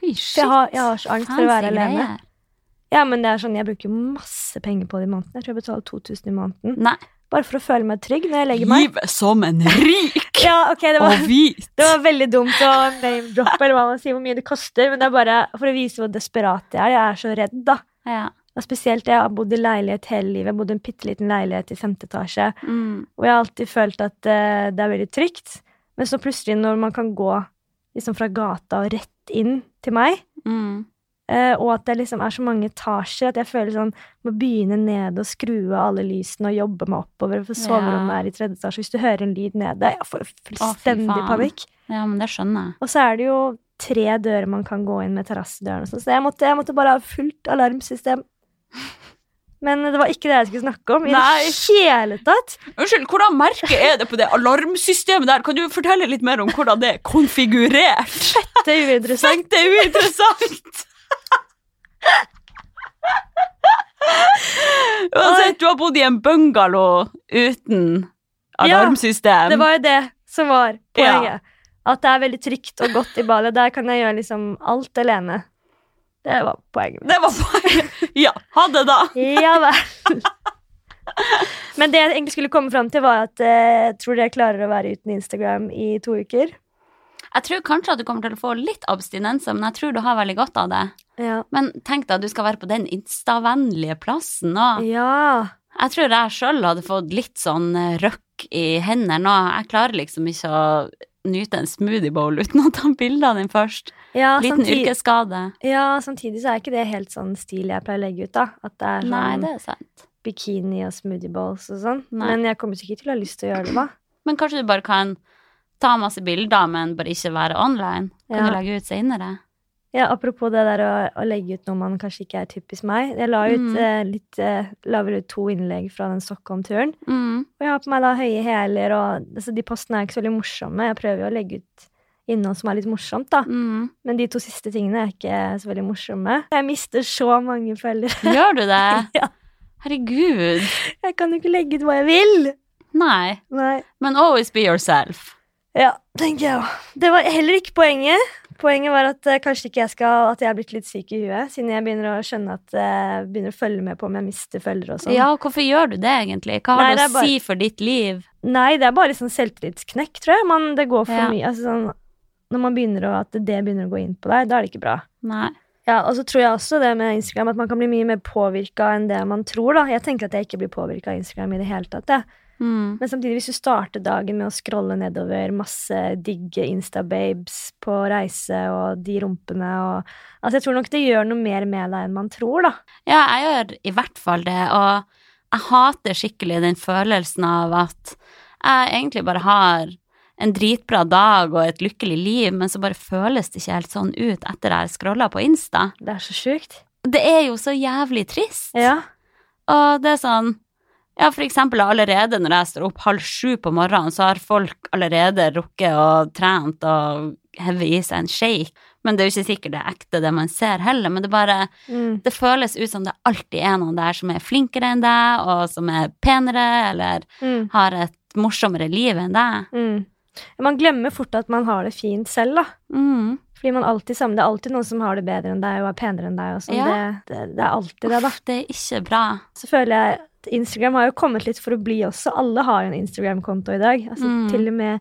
Speaker 1: Oi, shit.
Speaker 2: Så jeg har, jeg har så angst for å være
Speaker 1: Fancy
Speaker 2: alene.
Speaker 1: greier.
Speaker 2: Ja, men det er sånn, Jeg bruker jo masse penger på det i måneden. Jeg tror jeg betaler 2000 i måneden.
Speaker 1: Nei.
Speaker 2: Bare for å føle meg trygg når jeg legger meg.
Speaker 1: Liv som en rik
Speaker 2: Ja, ok, det var,
Speaker 1: hvit.
Speaker 2: det var veldig dumt å name droppe, eller hva man sier, hvor mye det koster, men det er bare for å vise hvor desperat jeg er. Jeg er så redd, da.
Speaker 1: Ja.
Speaker 2: Og spesielt, jeg har bodd i leilighet hele livet. Jeg bodde i en bitte liten leilighet i femte etasje,
Speaker 1: Mm.
Speaker 2: og jeg har alltid følt at eh, det er veldig trygt. Men så plutselig, når man kan gå liksom fra gata og rett inn til meg.
Speaker 1: Mm.
Speaker 2: Eh, og at det liksom er så mange etasjer at jeg føler sånn må begynne nede og skru av alle lysene og jobbe meg oppover. For
Speaker 1: Ja.
Speaker 2: soverommet er i tredje etasje. Hvis du hører en lyd nede, jeg får fullstendig
Speaker 1: faen.
Speaker 2: panikk.
Speaker 1: Ja, men det skjønner jeg.
Speaker 2: Og så er det jo tre dører man kan gå inn med terrassedøren og sånn, så jeg måtte, jeg måtte bare ha fullt alarmsystem. Men det var ikke det jeg skulle snakke om i
Speaker 1: Nei.
Speaker 2: det hele tatt.
Speaker 1: Unnskyld, hvordan merke er det på det alarmsystemet der? Kan du fortelle litt mer om hvordan det er konfigurert?
Speaker 2: Det er uinteressant.
Speaker 1: Tenk, det er uinteressant! Uansett, du har bodd i en bungalow uten alarmsystem.
Speaker 2: Det var jo det som var
Speaker 1: Ja.
Speaker 2: poenget. At det er veldig trygt og godt i Bali. Der kan jeg gjøre liksom alt alene. Det var poenget.
Speaker 1: Det var bare Ja, ha det, da.
Speaker 2: Ja vel. Men det jeg egentlig skulle komme fram til, var at eh, jeg tror dere klarer å være uten Instagram i to uker.
Speaker 1: Jeg tror kanskje at du kommer til å få litt abstinenser, men jeg tror du har veldig godt av det.
Speaker 2: Ja.
Speaker 1: Men tenk deg at du skal være på den instavennlige plassen nå.
Speaker 2: ja.
Speaker 1: Jeg tror jeg sjøl hadde fått litt sånn eh, røkk i hendene nå. Jeg klarer liksom ikke å nyte en smoothie bowl uten å ta bilde av den først.
Speaker 2: Ja,
Speaker 1: Liten
Speaker 2: samtid-
Speaker 1: yrkesskade.
Speaker 2: ja, samtidig så er ikke det helt sånn stil jeg pleier å legge ut, da. At det er sånn
Speaker 1: Nei, det er sant.
Speaker 2: bikini og smoothie bowls og sånn.
Speaker 1: Nei.
Speaker 2: Men jeg kommer sikkert til å ha lyst til å gjøre det, hva?
Speaker 1: Men kanskje du bare kan ta masse bilder, men bare ikke være online? Kan
Speaker 2: Ja.
Speaker 1: du legge ut seinere?
Speaker 2: Ja, apropos det der å, å legge ut noe man kanskje ikke er typisk meg. Jeg la ut
Speaker 1: Mm.
Speaker 2: eh, litt, eh, la vel ut to innlegg fra den Stockholm-turen.
Speaker 1: Mm.
Speaker 2: Og jeg har på meg da høye hæler, og altså, de postene er ikke så veldig morsomme. Jeg prøver jo å legge ut innhold som er litt morsomt, da.
Speaker 1: Mm.
Speaker 2: Men de to siste tingene er ikke så veldig morsomme. Jeg mister så mange følgere.
Speaker 1: Gjør du det?
Speaker 2: Ja.
Speaker 1: Herregud.
Speaker 2: Jeg kan jo ikke legge ut hva jeg vil!
Speaker 1: Nei.
Speaker 2: Nei.
Speaker 1: Men always be yourself.
Speaker 2: Ja, tenker jeg òg. Det var heller ikke poenget. Poenget var at eh, kanskje ikke jeg skal At jeg er blitt litt syk i huet, siden jeg begynner å skjønne at eh, begynner å følge med på om jeg mister følgere og sånn.
Speaker 1: Ja, hvorfor gjør du det egentlig? Hva har
Speaker 2: Nei, det
Speaker 1: det
Speaker 2: er
Speaker 1: å
Speaker 2: bare-
Speaker 1: si for ditt liv?
Speaker 2: Nei, det er bare sånn selvtillitsknekk, tror jeg. Man, det går for
Speaker 1: Ja.
Speaker 2: mye. Altså, sånn, når man begynner å, at det begynner å gå inn på deg, da er det ikke bra.
Speaker 1: Nei.
Speaker 2: Ja, Og så tror jeg også det med Instagram at man kan bli mye mer påvirka enn det man tror. da. Jeg tenker at jeg ikke blir påvirka av Instagram i det hele tatt. Jeg.
Speaker 1: Mm.
Speaker 2: Men samtidig, hvis du starter dagen med å scrolle nedover masse digge Instababes på reise og de rumpene og Altså, jeg tror nok det gjør noe mer med deg enn man tror, da.
Speaker 1: Ja, jeg gjør i hvert fall det, og jeg hater skikkelig den følelsen av at jeg egentlig bare har en dritbra dag og et lykkelig liv, men så bare føles det ikke helt sånn ut etter jeg har scrolla på Insta.
Speaker 2: Det er så sjukt.
Speaker 1: Det er jo så jævlig trist.
Speaker 2: Ja.
Speaker 1: Og det er sånn Ja, for eksempel allerede når jeg står opp halv sju på morgenen, så har folk allerede rukket og trent og hevet i seg en shake. Men det er jo ikke sikkert det er ekte, det man ser heller. Men det bare
Speaker 2: Mm.
Speaker 1: Det føles ut som det alltid er noen der som er flinkere enn deg, og som er penere, eller
Speaker 2: Mm.
Speaker 1: har et morsommere liv enn deg.
Speaker 2: Mm. Man glemmer fort at man har det fint selv, da.
Speaker 1: Mm.
Speaker 2: Fordi man alltid sammen, Det er alltid noen som har det bedre enn deg og er penere enn deg. Og sånn.
Speaker 1: Ja.
Speaker 2: det, det, det er alltid det, da.
Speaker 1: Uff, det er ikke bra.
Speaker 2: Så føler jeg at Instagram har jo kommet litt for å bli også. Alle har jo en Instagram-konto i dag. Altså,
Speaker 1: Mm.
Speaker 2: Til og med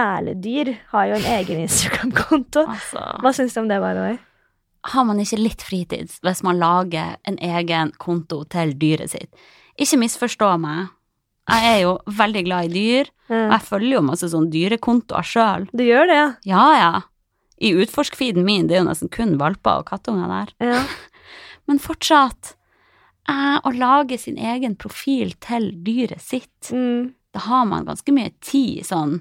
Speaker 2: kjæledyr har jo en egen Instagram-konto.
Speaker 1: Altså,
Speaker 2: Hva syns du om det, Baroi?
Speaker 1: har man ikke litt fritid hvis man lager en egen konto til dyret sitt? Ikke misforstå meg. Jeg er jo veldig glad i dyr, og
Speaker 2: Uh,
Speaker 1: jeg følger jo masse sånn dyrekontoer sjøl.
Speaker 2: du gjør det, ja?
Speaker 1: Ja, ja. I utforskfeeden min, det er jo nesten kun valper og kattunger der.
Speaker 2: ja.
Speaker 1: Men fortsatt eh, Å lage sin egen profil til dyret sitt,
Speaker 2: Mm.
Speaker 1: da har man ganske mye tid sånn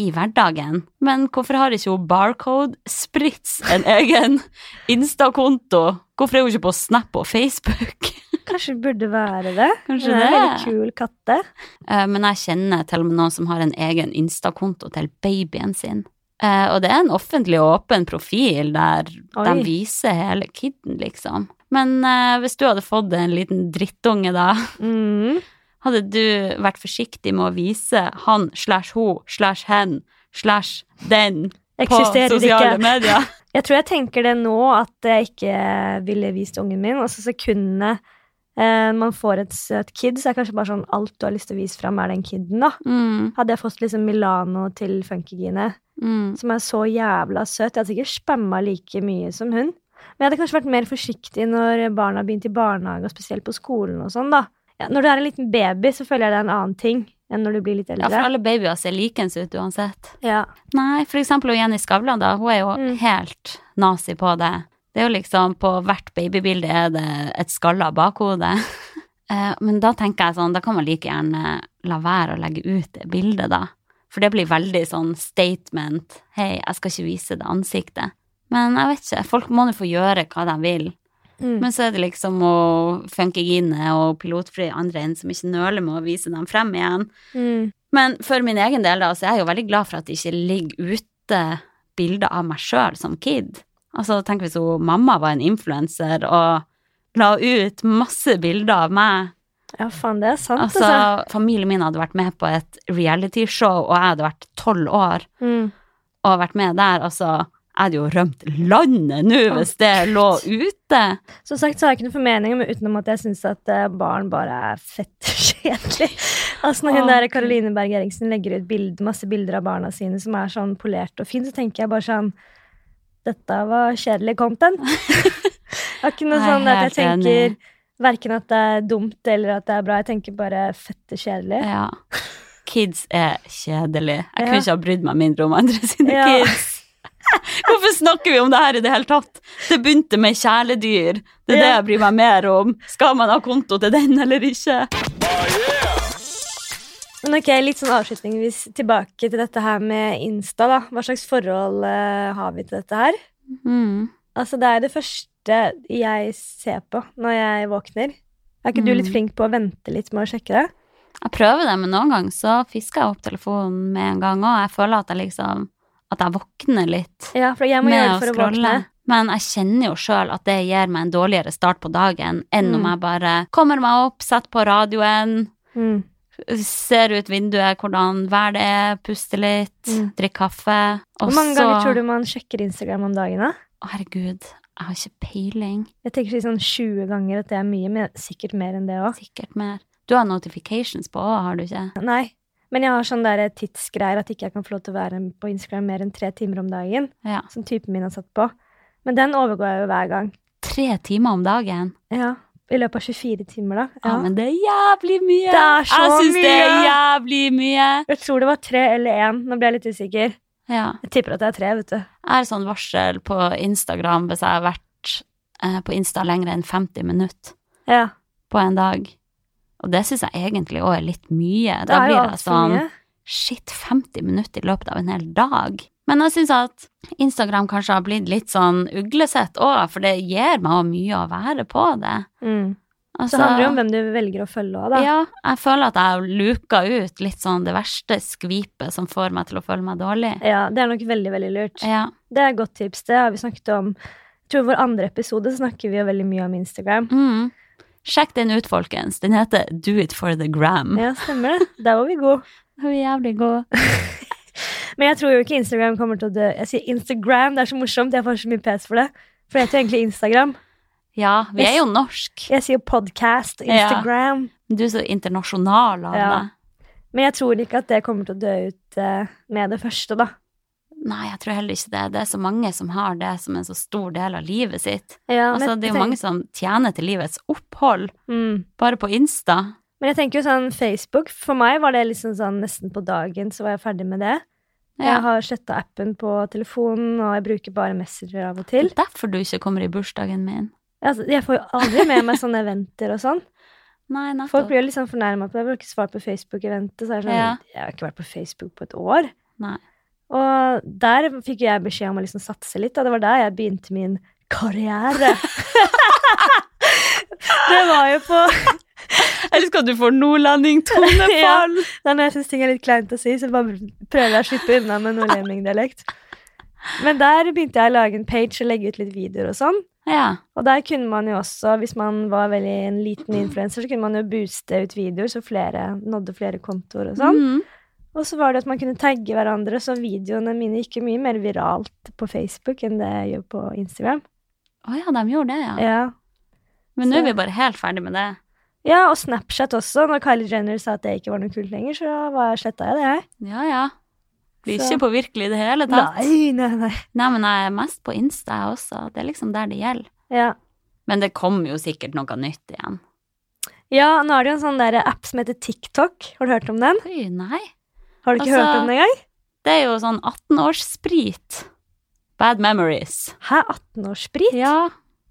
Speaker 1: i hverdagen. Men hvorfor har ikke hun Barcode Spritz en egen Insta-konto? Hvorfor er hun ikke på Snap og Facebook?
Speaker 2: Kanskje det burde være det?
Speaker 1: Kanskje
Speaker 2: Hun er en veldig
Speaker 1: det.
Speaker 2: kul katte.
Speaker 1: Eh, Men jeg kjenner til og med noen som har en egen Insta-konto til babyen sin. Eh, Og det er en offentlig og åpen profil der
Speaker 2: Oi.
Speaker 1: de viser hele kidden, liksom. Men eh, hvis du hadde fått en liten drittunge, da,
Speaker 2: Mm.
Speaker 1: Hadde du vært forsiktig med å vise han slash ho slash hen slash den på
Speaker 2: Eksisterer
Speaker 1: sosiale
Speaker 2: ikke.
Speaker 1: medier?
Speaker 2: Jeg tror jeg tenker det nå at jeg ikke ville vist ungen min. Og så sekundene eh, man får et søt kid, så er det kanskje bare sånn alt du har lyst til å vise fram, er den kiden, da.
Speaker 1: Mm,
Speaker 2: Hadde jeg fått liksom Milano til Funkygine,
Speaker 1: mm.
Speaker 2: som er så jævla søt Jeg hadde sikkert spamma like mye som hun. Men jeg hadde kanskje vært mer forsiktig når barna begynte i barnehage, og spesielt på skolen og sånn, da. Ja, når du er en liten baby, så føler jeg det er en annen ting enn når du blir litt
Speaker 1: Ja, for
Speaker 2: eldre.
Speaker 1: alle babyer ser likens ut uansett.
Speaker 2: Ja.
Speaker 1: Nei, for eksempel hun Jenny Skavlan, da. Hun er jo
Speaker 2: Mm.
Speaker 1: helt nazi på det. Det er jo liksom På hvert babybilde er det et skalla bakhode. Eh, Men da tenker jeg sånn, da kan man like gjerne la være å legge ut det bildet, da. For det blir veldig sånn statement. Hei, jeg skal ikke vise det ansiktet. Men jeg vet ikke, folk må nå få gjøre hva de vil.
Speaker 2: Mm.
Speaker 1: Men så er det liksom å funke gine og pilotfly andre inn som ikke nøler med å vise dem frem igjen.
Speaker 2: mm.
Speaker 1: Men for min egen del, da, så er jeg jo veldig glad for at det ikke ligger ute bilder av meg sjøl som kid. Altså, tenk hvis hun, mamma var en influenser og la ut masse bilder av meg.
Speaker 2: ja, faen, det er sant, altså.
Speaker 1: Altså, familien min hadde vært med på et realityshow, og jeg hadde vært tolv år
Speaker 2: Mm.
Speaker 1: og vært med der. Altså, jeg hadde jo rømt landet nå hvis det lå ute.
Speaker 2: Som sagt så har jeg ikke noen formening om utenom at jeg syns at eh, barn bare er fett kjedelig. Altså Når hun
Speaker 1: Åh,
Speaker 2: der
Speaker 1: Gud.
Speaker 2: Caroline Berg Eriksen legger ut bild, masse bilder av barna sine som er sånn polert og fint, så tenker jeg bare sånn Dette var kjedelig content. det er ikke noe
Speaker 1: Nei,
Speaker 2: sånn at jeg
Speaker 1: helt
Speaker 2: tenker
Speaker 1: enig.
Speaker 2: verken at det er dumt eller at det er bra. Jeg tenker bare fette kjedelig.
Speaker 1: Ja. Kids er kjedelig. Jeg
Speaker 2: Ja.
Speaker 1: kunne ikke ha brydd meg mindre om andre sine
Speaker 2: Ja.
Speaker 1: kids. Hvorfor snakker vi om det her i det hele tatt? Det begynte med kjæledyr. Det er det
Speaker 2: Ja.
Speaker 1: jeg bryr meg mer om. Skal man ha konto til den eller ikke?
Speaker 2: Men ok, litt sånn avslutningsvis tilbake til dette her med Insta, da. Hva slags forhold eh, har vi til dette her?
Speaker 1: Mm.
Speaker 2: Altså, det er det første jeg ser på når jeg våkner. Er ikke du
Speaker 1: Mm.
Speaker 2: litt flink på å vente litt med å sjekke det?
Speaker 1: Jeg prøver det, men noen ganger så fisker jeg opp telefonen med en gang òg. Jeg føler at jeg liksom At jeg våkner litt
Speaker 2: Ja, for jeg må
Speaker 1: med å
Speaker 2: gjøre det for å
Speaker 1: scrolle.
Speaker 2: våkne.
Speaker 1: Men jeg kjenner jo sjøl at det gir meg en dårligere start på dagen enn om
Speaker 2: Mm.
Speaker 1: jeg bare kommer meg opp, setter på radioen,
Speaker 2: Mm.
Speaker 1: ser ut vinduet hvordan vær det er, puster litt,
Speaker 2: Mm.
Speaker 1: drikker kaffe.
Speaker 2: Hvor
Speaker 1: og
Speaker 2: mange
Speaker 1: så-
Speaker 2: ganger tror du man sjekker Instagram om dagen? da?
Speaker 1: Å, Herregud, jeg har ikke peiling.
Speaker 2: Jeg tenker si sånn 20 ganger at det er mye, men sikkert mer enn det òg.
Speaker 1: Sikkert mer. Du har notifications på òg, har du ikke?
Speaker 2: Nei. Men jeg har sånn der tidsgreier at ikke jeg kan få lov til å være på Instagram mer enn tre timer om dagen.
Speaker 1: Ja.
Speaker 2: Som typen min har satt på. Men den overgår jeg jo hver gang.
Speaker 1: Tre timer om dagen.
Speaker 2: Ja. I løpet av 24 timer, da.
Speaker 1: Ja, men det er jævlig mye!
Speaker 2: Det er så
Speaker 1: jeg syns det er
Speaker 2: mye!
Speaker 1: jævlig mye!
Speaker 2: Jeg tror det var tre eller én. Nå ble jeg litt usikker.
Speaker 1: Ja.
Speaker 2: Jeg tipper at det er tre, vet du.
Speaker 1: Jeg har sånn varsel på Instagram hvis jeg har vært eh, på Insta lenger enn 50 minutter
Speaker 2: Ja.
Speaker 1: på en dag. Og det syns jeg egentlig òg er litt mye.
Speaker 2: Det
Speaker 1: da
Speaker 2: er jo
Speaker 1: blir jeg
Speaker 2: alt for
Speaker 1: sånn
Speaker 2: mye.
Speaker 1: shit, 50 minutter i løpet av en hel dag. Men jeg syns at Instagram kanskje har blitt litt sånn uglesett òg, for det gir meg også mye å være på det.
Speaker 2: Mm. Så
Speaker 1: Altså,
Speaker 2: det handler jo om hvem du velger å følge òg, da.
Speaker 1: Ja, jeg føler at jeg luker ut litt sånn det verste skvipet som får meg til å føle meg dårlig.
Speaker 2: Ja, det er nok veldig, veldig lurt.
Speaker 1: Ja,
Speaker 2: Det er et godt tips. Det har vi snakket om. Jeg tror i vår andre episode snakker vi jo veldig mye om Instagram.
Speaker 1: mm. Sjekk den ut, folkens. Den heter Do it for the gram.
Speaker 2: Ja, stemmer det. Der var vi gode.
Speaker 1: Hun er jævlig god.
Speaker 2: Men jeg tror jo ikke Instagram kommer til å dø. Jeg sier Instagram, det er så morsomt. Jeg får så mye pes for det. For det heter jo egentlig Instagram.
Speaker 1: Ja, vi er jo norsk.
Speaker 2: Jeg sier podcast, Instagram.
Speaker 1: Du er så internasjonal av
Speaker 2: Ja.
Speaker 1: det.
Speaker 2: Men jeg tror ikke at det kommer til å dø ut eh, med det første, da.
Speaker 1: Nei, jeg tror heller ikke det. Det er så mange som har det som en så stor del av livet sitt.
Speaker 2: Ja,
Speaker 1: Altså, det er jo mange som tjener til livets opphold,
Speaker 2: mm.
Speaker 1: bare på Insta.
Speaker 2: Men jeg tenker jo sånn Facebook For meg var det liksom sånn nesten på dagen så var jeg ferdig med det. Jeg
Speaker 1: Ja.
Speaker 2: har sletta appen på telefonen, og jeg bruker bare Messenger av
Speaker 1: Det
Speaker 2: og til.
Speaker 1: er derfor du ikke kommer i bursdagen min.
Speaker 2: Altså, jeg får jo aldri med meg sånne eventer og sånn.
Speaker 1: Nei, nettopp.
Speaker 2: Folk blir jo litt sånn fornærma på det. Jeg har ikke svart på Facebook-eventet. Så er det sånn,
Speaker 1: Ja.
Speaker 2: Jeg har ikke vært på Facebook på et år.
Speaker 1: Nei.
Speaker 2: Og der fikk jeg beskjed om å liksom satse litt. Da. Det var der jeg begynte min karriere. det var jo på
Speaker 1: Jeg elsker at du får nordlending, tonefall!
Speaker 2: Nei, når jeg syns ting er litt kleint å si, så bare prøver jeg å slippe unna med nordlendingdialekt. Men der begynte jeg å lage en page og legge ut litt videoer og sånn.
Speaker 1: ja.
Speaker 2: Og der kunne man jo også, hvis man var veldig en liten influenser, så kunne man jo booste ut videoer så flere nådde flere kontoer og sånn.
Speaker 1: Mm.
Speaker 2: Og så var det at man kunne tagge hverandre, så videoene mine gikk jo mye mer viralt på Facebook enn det jeg gjør på Instagram.
Speaker 1: Å ja, de gjorde det, ja.
Speaker 2: Ja.
Speaker 1: Men nå er
Speaker 2: så-
Speaker 1: vi bare helt ferdig med det.
Speaker 2: ja, og Snapchat også. Når Kylie Jenner sa at det ikke var noe kult lenger, så var- sletta jeg det, jeg.
Speaker 1: Ja, ja. Blir
Speaker 2: Så-
Speaker 1: ikke påvirkelig i det hele tatt. Nei.
Speaker 2: Nei, nei, nei.
Speaker 1: men jeg er mest på Insta, jeg også. Det er liksom der det gjelder.
Speaker 2: Ja.
Speaker 1: Men det kommer jo sikkert noe nytt igjen.
Speaker 2: Ja, nå er det jo en sånn der app som heter TikTok. Har du hørt om den?
Speaker 1: Oi, nei.
Speaker 2: Har du ikke
Speaker 1: Altså-
Speaker 2: hørt om den engang?
Speaker 1: Det er jo sånn 18-årssprit. Bad memories.
Speaker 2: Hæ, 18-årssprit?
Speaker 1: Ja.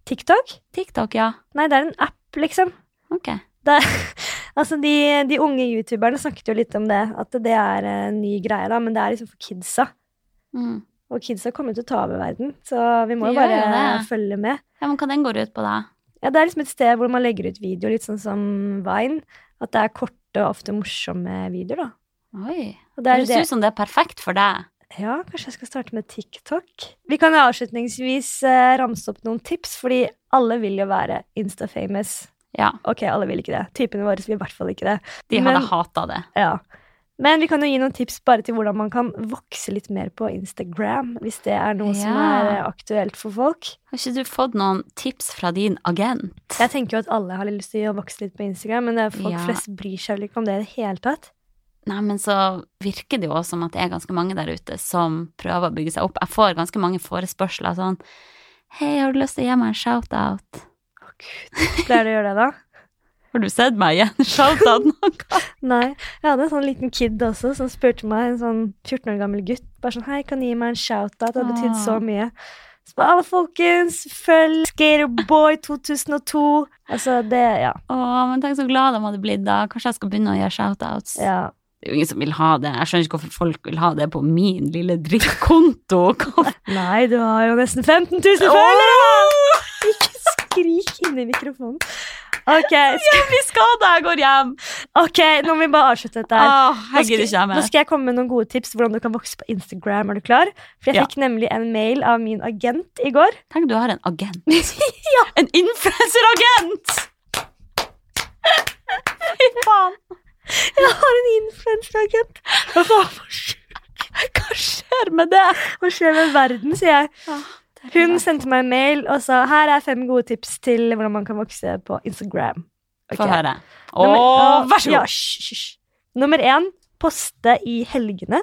Speaker 2: TikTok?
Speaker 1: TikTok, ja.
Speaker 2: Nei, det er en app, liksom.
Speaker 1: Ok.
Speaker 2: Altså, de, de unge youtuberne snakket jo litt om det, at det er eh, en ny greie, da, men det er liksom for kidsa.
Speaker 1: Mm.
Speaker 2: Og kidsa kommer jo til å ta over verden, så vi må
Speaker 1: De
Speaker 2: jo
Speaker 1: gjør
Speaker 2: bare
Speaker 1: jo det.
Speaker 2: følge med.
Speaker 1: Ja, men hva den går ut på, da?
Speaker 2: Ja, det er liksom et sted hvor man legger ut videoer, litt sånn som Vine. At det er korte og ofte morsomme videoer, da.
Speaker 1: Oi.
Speaker 2: Og
Speaker 1: Det
Speaker 2: det er
Speaker 1: høres
Speaker 2: det.
Speaker 1: ut som det er perfekt for deg.
Speaker 2: Ja, kanskje jeg skal starte med TikTok. Vi kan jo avslutningsvis eh, ramse opp noen tips, fordi alle vil jo være Insta-famous.
Speaker 1: Ja.
Speaker 2: Ok, alle vil ikke det. Typene våre vil i hvert fall ikke det.
Speaker 1: De
Speaker 2: Men-
Speaker 1: hadde hata det.
Speaker 2: Ja. Men vi kan jo gi noen tips bare til hvordan man kan vokse litt mer på Instagram, hvis det er noe som
Speaker 1: Ja.
Speaker 2: er eh, aktuelt for folk.
Speaker 1: Har ikke du fått noen tips fra din agent?
Speaker 2: Jeg tenker jo at alle har litt lyst til å vokse litt på Instagram, men det er folk
Speaker 1: Ja.
Speaker 2: flest bryr seg vel ikke om det i det hele tatt.
Speaker 1: Nei, men så virker det jo også som at det er ganske mange der ute som prøver å bygge seg opp. Jeg får ganske mange forespørsler sånn Hei, har du lyst til å gi meg en shout-out?
Speaker 2: Å gud, Pleier du å gjøre det da?
Speaker 1: Har du sett meg igjen? Shout-out noen gang?
Speaker 2: Nei. Jeg hadde en sånn liten kid også som spurte meg, en sånn 14 år gammel gutt, bare sånn Hei, kan du gi meg en shout-out? Det har betydd så
Speaker 1: Åh.
Speaker 2: mye. Så bare, alle folkens, følg Skaterboy 2002. Altså, det Ja.
Speaker 1: Å, men tenk så glad de hadde blitt da. Kanskje jeg skal begynne å gjøre shout-outs?
Speaker 2: ja.
Speaker 1: Det er jo ingen som vil ha det. Jeg skjønner ikke hvorfor folk vil ha det på min lille drittkonto. Hva-
Speaker 2: Nei, du har jo nesten 15 000 følgere! Ikke skrik inni mikrofonen. Ok, sk
Speaker 1: Jeg blir skada, jeg går hjem!
Speaker 2: ok, nå må vi bare avslutte dette her.
Speaker 1: Åh,
Speaker 2: Nå
Speaker 1: jeg Ah, gidder ikke
Speaker 2: skal,
Speaker 1: jeg
Speaker 2: nå
Speaker 1: mer.
Speaker 2: skal jeg komme med noen gode tips hvordan du kan vokse på Instagram. Er du klar? For jeg
Speaker 1: Ja.
Speaker 2: fikk nemlig en mail av min agent i går.
Speaker 1: Tenk, du har en agent. En influenseragent! Fy faen.
Speaker 2: Jeg har en influenseragent. Hva faen?
Speaker 1: Hva skjer med det?
Speaker 2: Hva skjer med verden, sier jeg. Hun sendte meg en mail og sa her er fem gode tips til hvordan man kan vokse på Instagram. Ok.
Speaker 1: Få høre. Å,
Speaker 2: Nummer- Åh,
Speaker 1: vær så
Speaker 2: Ja,
Speaker 1: god.
Speaker 2: hysj, hysj. Nummer én poste i helgene.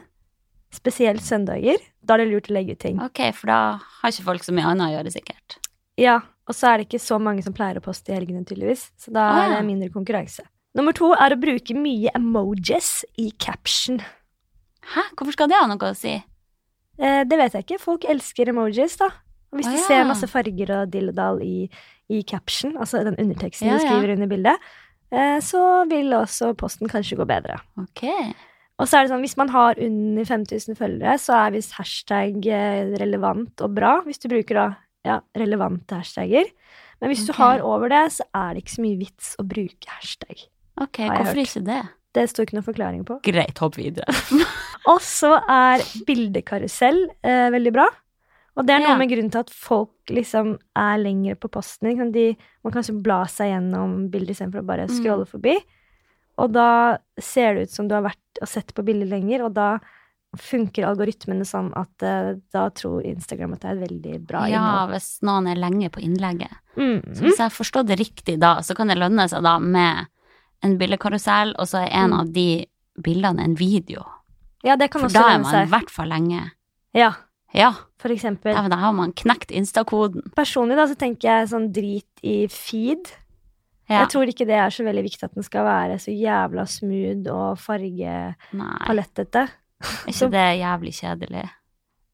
Speaker 2: Spesielt søndager. Da er det lurt å legge ut ting.
Speaker 1: Ok, for da har ikke folk så mye annet å gjøre, sikkert.
Speaker 2: Ja, Og så er det ikke så mange som pleier å poste i helgene, tydeligvis. Så da
Speaker 1: Ah,
Speaker 2: er
Speaker 1: ja.
Speaker 2: det mindre konkurranse. Nummer to er å bruke mye emojis i caption.
Speaker 1: Hæ, hvorfor skal det ha noe å si?
Speaker 2: Eh, det vet jeg ikke. Folk elsker emojis, da. Og hvis
Speaker 1: Å,
Speaker 2: du
Speaker 1: ja.
Speaker 2: ser masse farger og dilledal i, i caption, altså den underteksten
Speaker 1: Ja,
Speaker 2: du
Speaker 1: ja.
Speaker 2: skriver under bildet, eh, så vil også posten kanskje gå bedre.
Speaker 1: Ok.
Speaker 2: Og så er det sånn, Hvis man har under 5000 følgere, så er visst hashtag eh, relevant og bra. Hvis du bruker da ja, relevante hashtagger. Men hvis
Speaker 1: Ok.
Speaker 2: du har over det, så er det ikke så mye vits å bruke hashtag.
Speaker 1: Ok,
Speaker 2: jeg
Speaker 1: hvorfor
Speaker 2: hørt.
Speaker 1: ikke det?
Speaker 2: Det står ikke noen forklaring på.
Speaker 1: Greit, hopp videre.
Speaker 2: Og så er bildekarusell eh, veldig bra. Og det er noe
Speaker 1: Ja.
Speaker 2: med grunnen til at folk liksom er lenger på posten. Ikke sant? De, man kan liksom bla seg gjennom bilder istedenfor å bare
Speaker 1: Mm.
Speaker 2: scrolle forbi. Og da ser det ut som du har vært og sett på bilder lenger, og da funker algoritmene sånn at eh, da tror Instagram at det er et veldig bra
Speaker 1: Ja, Mhm.
Speaker 2: innhold.
Speaker 1: hvis noen er lenge på innlegget. Så
Speaker 2: Mm.
Speaker 1: hvis jeg forstår det riktig da, så kan det lønne seg da med en bildekarusell, og så er en
Speaker 2: Mm.
Speaker 1: av de bildene en video.
Speaker 2: Ja, det kan
Speaker 1: For
Speaker 2: også
Speaker 1: da er
Speaker 2: lønne
Speaker 1: man i
Speaker 2: seg.
Speaker 1: hvert fall lenge.
Speaker 2: Ja,
Speaker 1: Ja,
Speaker 2: for eksempel.
Speaker 1: da har man knekt Insta-koden.
Speaker 2: Personlig da, så tenker jeg sånn drit i feed.
Speaker 1: Ja.
Speaker 2: Jeg tror ikke det er så veldig viktig at den skal være så jævla smooth og fargepalettet.
Speaker 1: Nei, er ikke
Speaker 2: Så-
Speaker 1: det jævlig kjedelig?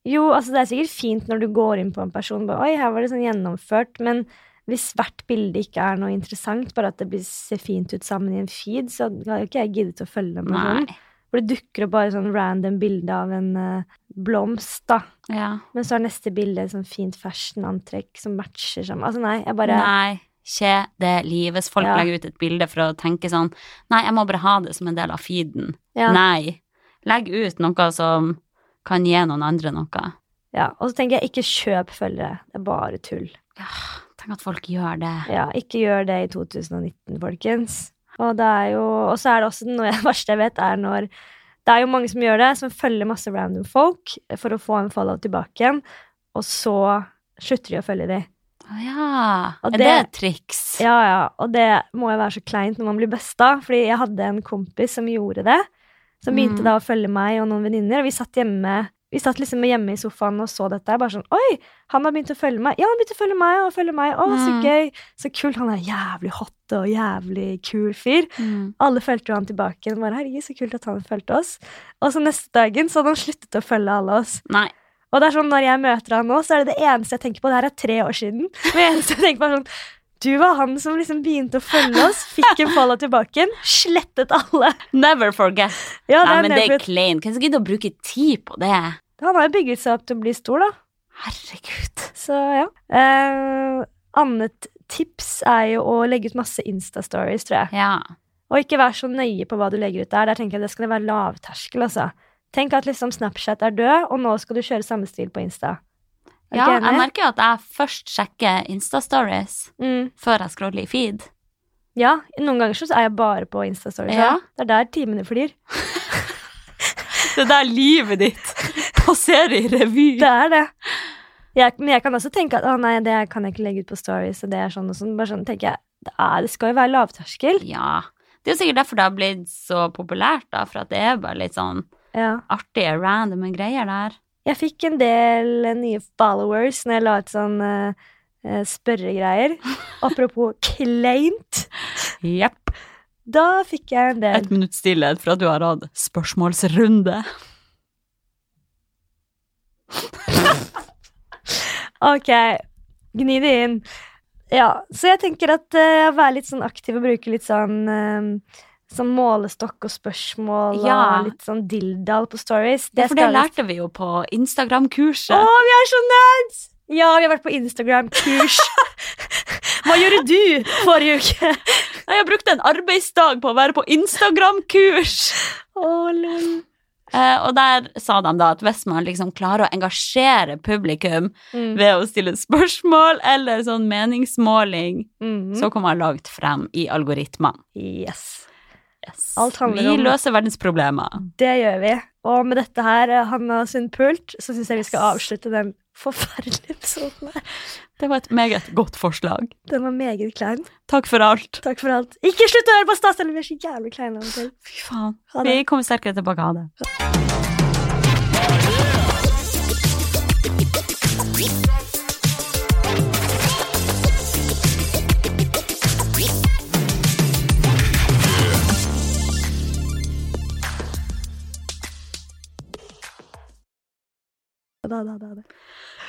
Speaker 2: Jo, altså det er sikkert fint når du går inn på en person bare, Oi, her var det sånn gjennomført, men hvis hvert bilde ikke er noe interessant, bare at det blir, ser fint ut sammen i en feed, så har jo ikke jeg giddet å følge den personen.
Speaker 1: Nei.
Speaker 2: For det dukker opp bare sånn random bilde av en eh, blomst, da.
Speaker 1: Ja.
Speaker 2: Men så er neste bilde et sånn fint fashion-antrekk som matcher sammen. Altså nei, jeg bare
Speaker 1: Nei, kjedelig. Hvis folk
Speaker 2: Ja.
Speaker 1: legger ut et bilde for å tenke sånn Nei, jeg må bare ha det som en del av feeden.
Speaker 2: ja.
Speaker 1: Nei. Legg ut noe som kan gi noen andre noe.
Speaker 2: ja. Og så tenker jeg, ikke kjøp følgere. Det er bare tull.
Speaker 1: Ja, tenk at folk gjør det.
Speaker 2: Ja, ikke gjør det i 2019, folkens. Og det er jo, og så er det også noe det verste jeg vet, er når det er jo mange som gjør det, som følger masse random folk for å få en follow tilbake igjen, og så slutter de å følge de.
Speaker 1: Å ja.
Speaker 2: Og
Speaker 1: er det
Speaker 2: det-
Speaker 1: et triks?
Speaker 2: Ja, ja, og det må jo være så kleint når man blir besta, fordi jeg hadde en kompis som gjorde det, som begynte
Speaker 1: Mm.
Speaker 2: da å følge meg og noen venninner, og vi satt hjemme Vi satt liksom hjemme i sofaen og så dette. Bare sånn Oi, han har begynt å følge meg. Ja, han har begynt å følge meg og følge meg. Å, så
Speaker 1: Mm.
Speaker 2: gøy. Så kult. Han er jævlig hot og jævlig kul fyr.
Speaker 1: Mm.
Speaker 2: Alle fulgte jo han tilbake. igjen, Bare, Herregud, så kult at han fulgte oss. Og så neste dagen så hadde han sluttet å følge alle oss.
Speaker 1: Nei.
Speaker 2: Og det er sånn, når jeg møter han nå, så er det det eneste jeg tenker på. Det her er tre år siden. Men det eneste jeg tenker på er sånn Du var han som liksom begynte å følge oss, fikk en follow tilbake igjen, slettet alle.
Speaker 1: Never forget.
Speaker 2: Ja, det
Speaker 1: Nei,
Speaker 2: er
Speaker 1: men det er
Speaker 2: nedbrutt.
Speaker 1: klein. Hvem som gidder å bruke tid på det?
Speaker 2: Han har jo bygget seg opp til å bli stor, da.
Speaker 1: Herregud.
Speaker 2: Så ja. Eh, annet tips er jo å legge ut masse Insta-stories, tror jeg.
Speaker 1: Ja.
Speaker 2: Og ikke være så nøye på hva du legger ut der. Der tenker jeg det skal være lavterskel, altså. Tenk at liksom Snapchat er død, og nå skal du kjøre samme stil på Insta. Er du
Speaker 1: ja,
Speaker 2: ikke
Speaker 1: jeg
Speaker 2: enig?
Speaker 1: merker jo at jeg først sjekker Insta-stories
Speaker 2: Mm.
Speaker 1: før jeg scroller i feed.
Speaker 2: Ja, noen ganger så er jeg bare på Insta-stories.
Speaker 1: Ja.
Speaker 2: da. Det er der timene flyr.
Speaker 1: Det der livet ditt passerer i revy.
Speaker 2: Det er det. Jeg, men jeg kan også tenke at å nei, det kan jeg ikke legge ut på stories. Og det er sånn og sånn. Bare sånn tenker jeg, det, er, det skal jo være lavterskel.
Speaker 1: Ja. Det er jo sikkert derfor det har blitt så populært, da, for at det er bare litt sånn
Speaker 2: Ja.
Speaker 1: artige, random greier der.
Speaker 2: Jeg fikk en del eh, nye followers når jeg la ut sånn eh, eh, spørregreier. Apropos kleint.
Speaker 1: Jepp.
Speaker 2: Da fikk jeg en del.
Speaker 1: minutt stillhet for at du har hatt spørsmålsrunde.
Speaker 2: Ok, gni det inn. Ja, så jeg tenker at eh, å være litt sånn aktiv og bruke litt sånn eh, Sånn målestokk og spørsmål
Speaker 1: Ja.
Speaker 2: og litt sånn dilldall på stories.
Speaker 1: Det for det
Speaker 2: skal vi-
Speaker 1: lærte vi jo på Instagram-kurset.
Speaker 2: Å, vi er så nerds! Ja, vi har vært på Instagram-kurs. Hva gjorde du forrige uke?
Speaker 1: Nei, Jeg brukte en arbeidsdag på å være på Instagram-kurs.
Speaker 2: Å, lol.
Speaker 1: Eh, og der sa de da at hvis man liksom klarer å engasjere publikum
Speaker 2: Mm.
Speaker 1: ved å stille spørsmål eller sånn meningsmåling,
Speaker 2: Mhm.
Speaker 1: så kommer man langt frem i algoritmene.
Speaker 2: Yes.
Speaker 1: Yes.
Speaker 2: Alt handler
Speaker 1: Vi
Speaker 2: om-
Speaker 1: løser verdens problemer.
Speaker 2: Det gjør vi. Og med dette her, eh, Hanna Sundpult, så syns jeg vi skal
Speaker 1: Yes.
Speaker 2: avslutte den forferdelige episoden her.
Speaker 1: Det var et meget godt forslag.
Speaker 2: Den var meget klein.
Speaker 1: Takk for alt.
Speaker 2: Takk for alt. Ikke slutt å høre på Stas, eller vi er så jævlig kleine av og til.
Speaker 1: Fy faen.
Speaker 2: Ha det.
Speaker 1: Vi kommer sterkere tilbake av det.
Speaker 2: Da, da, da, da.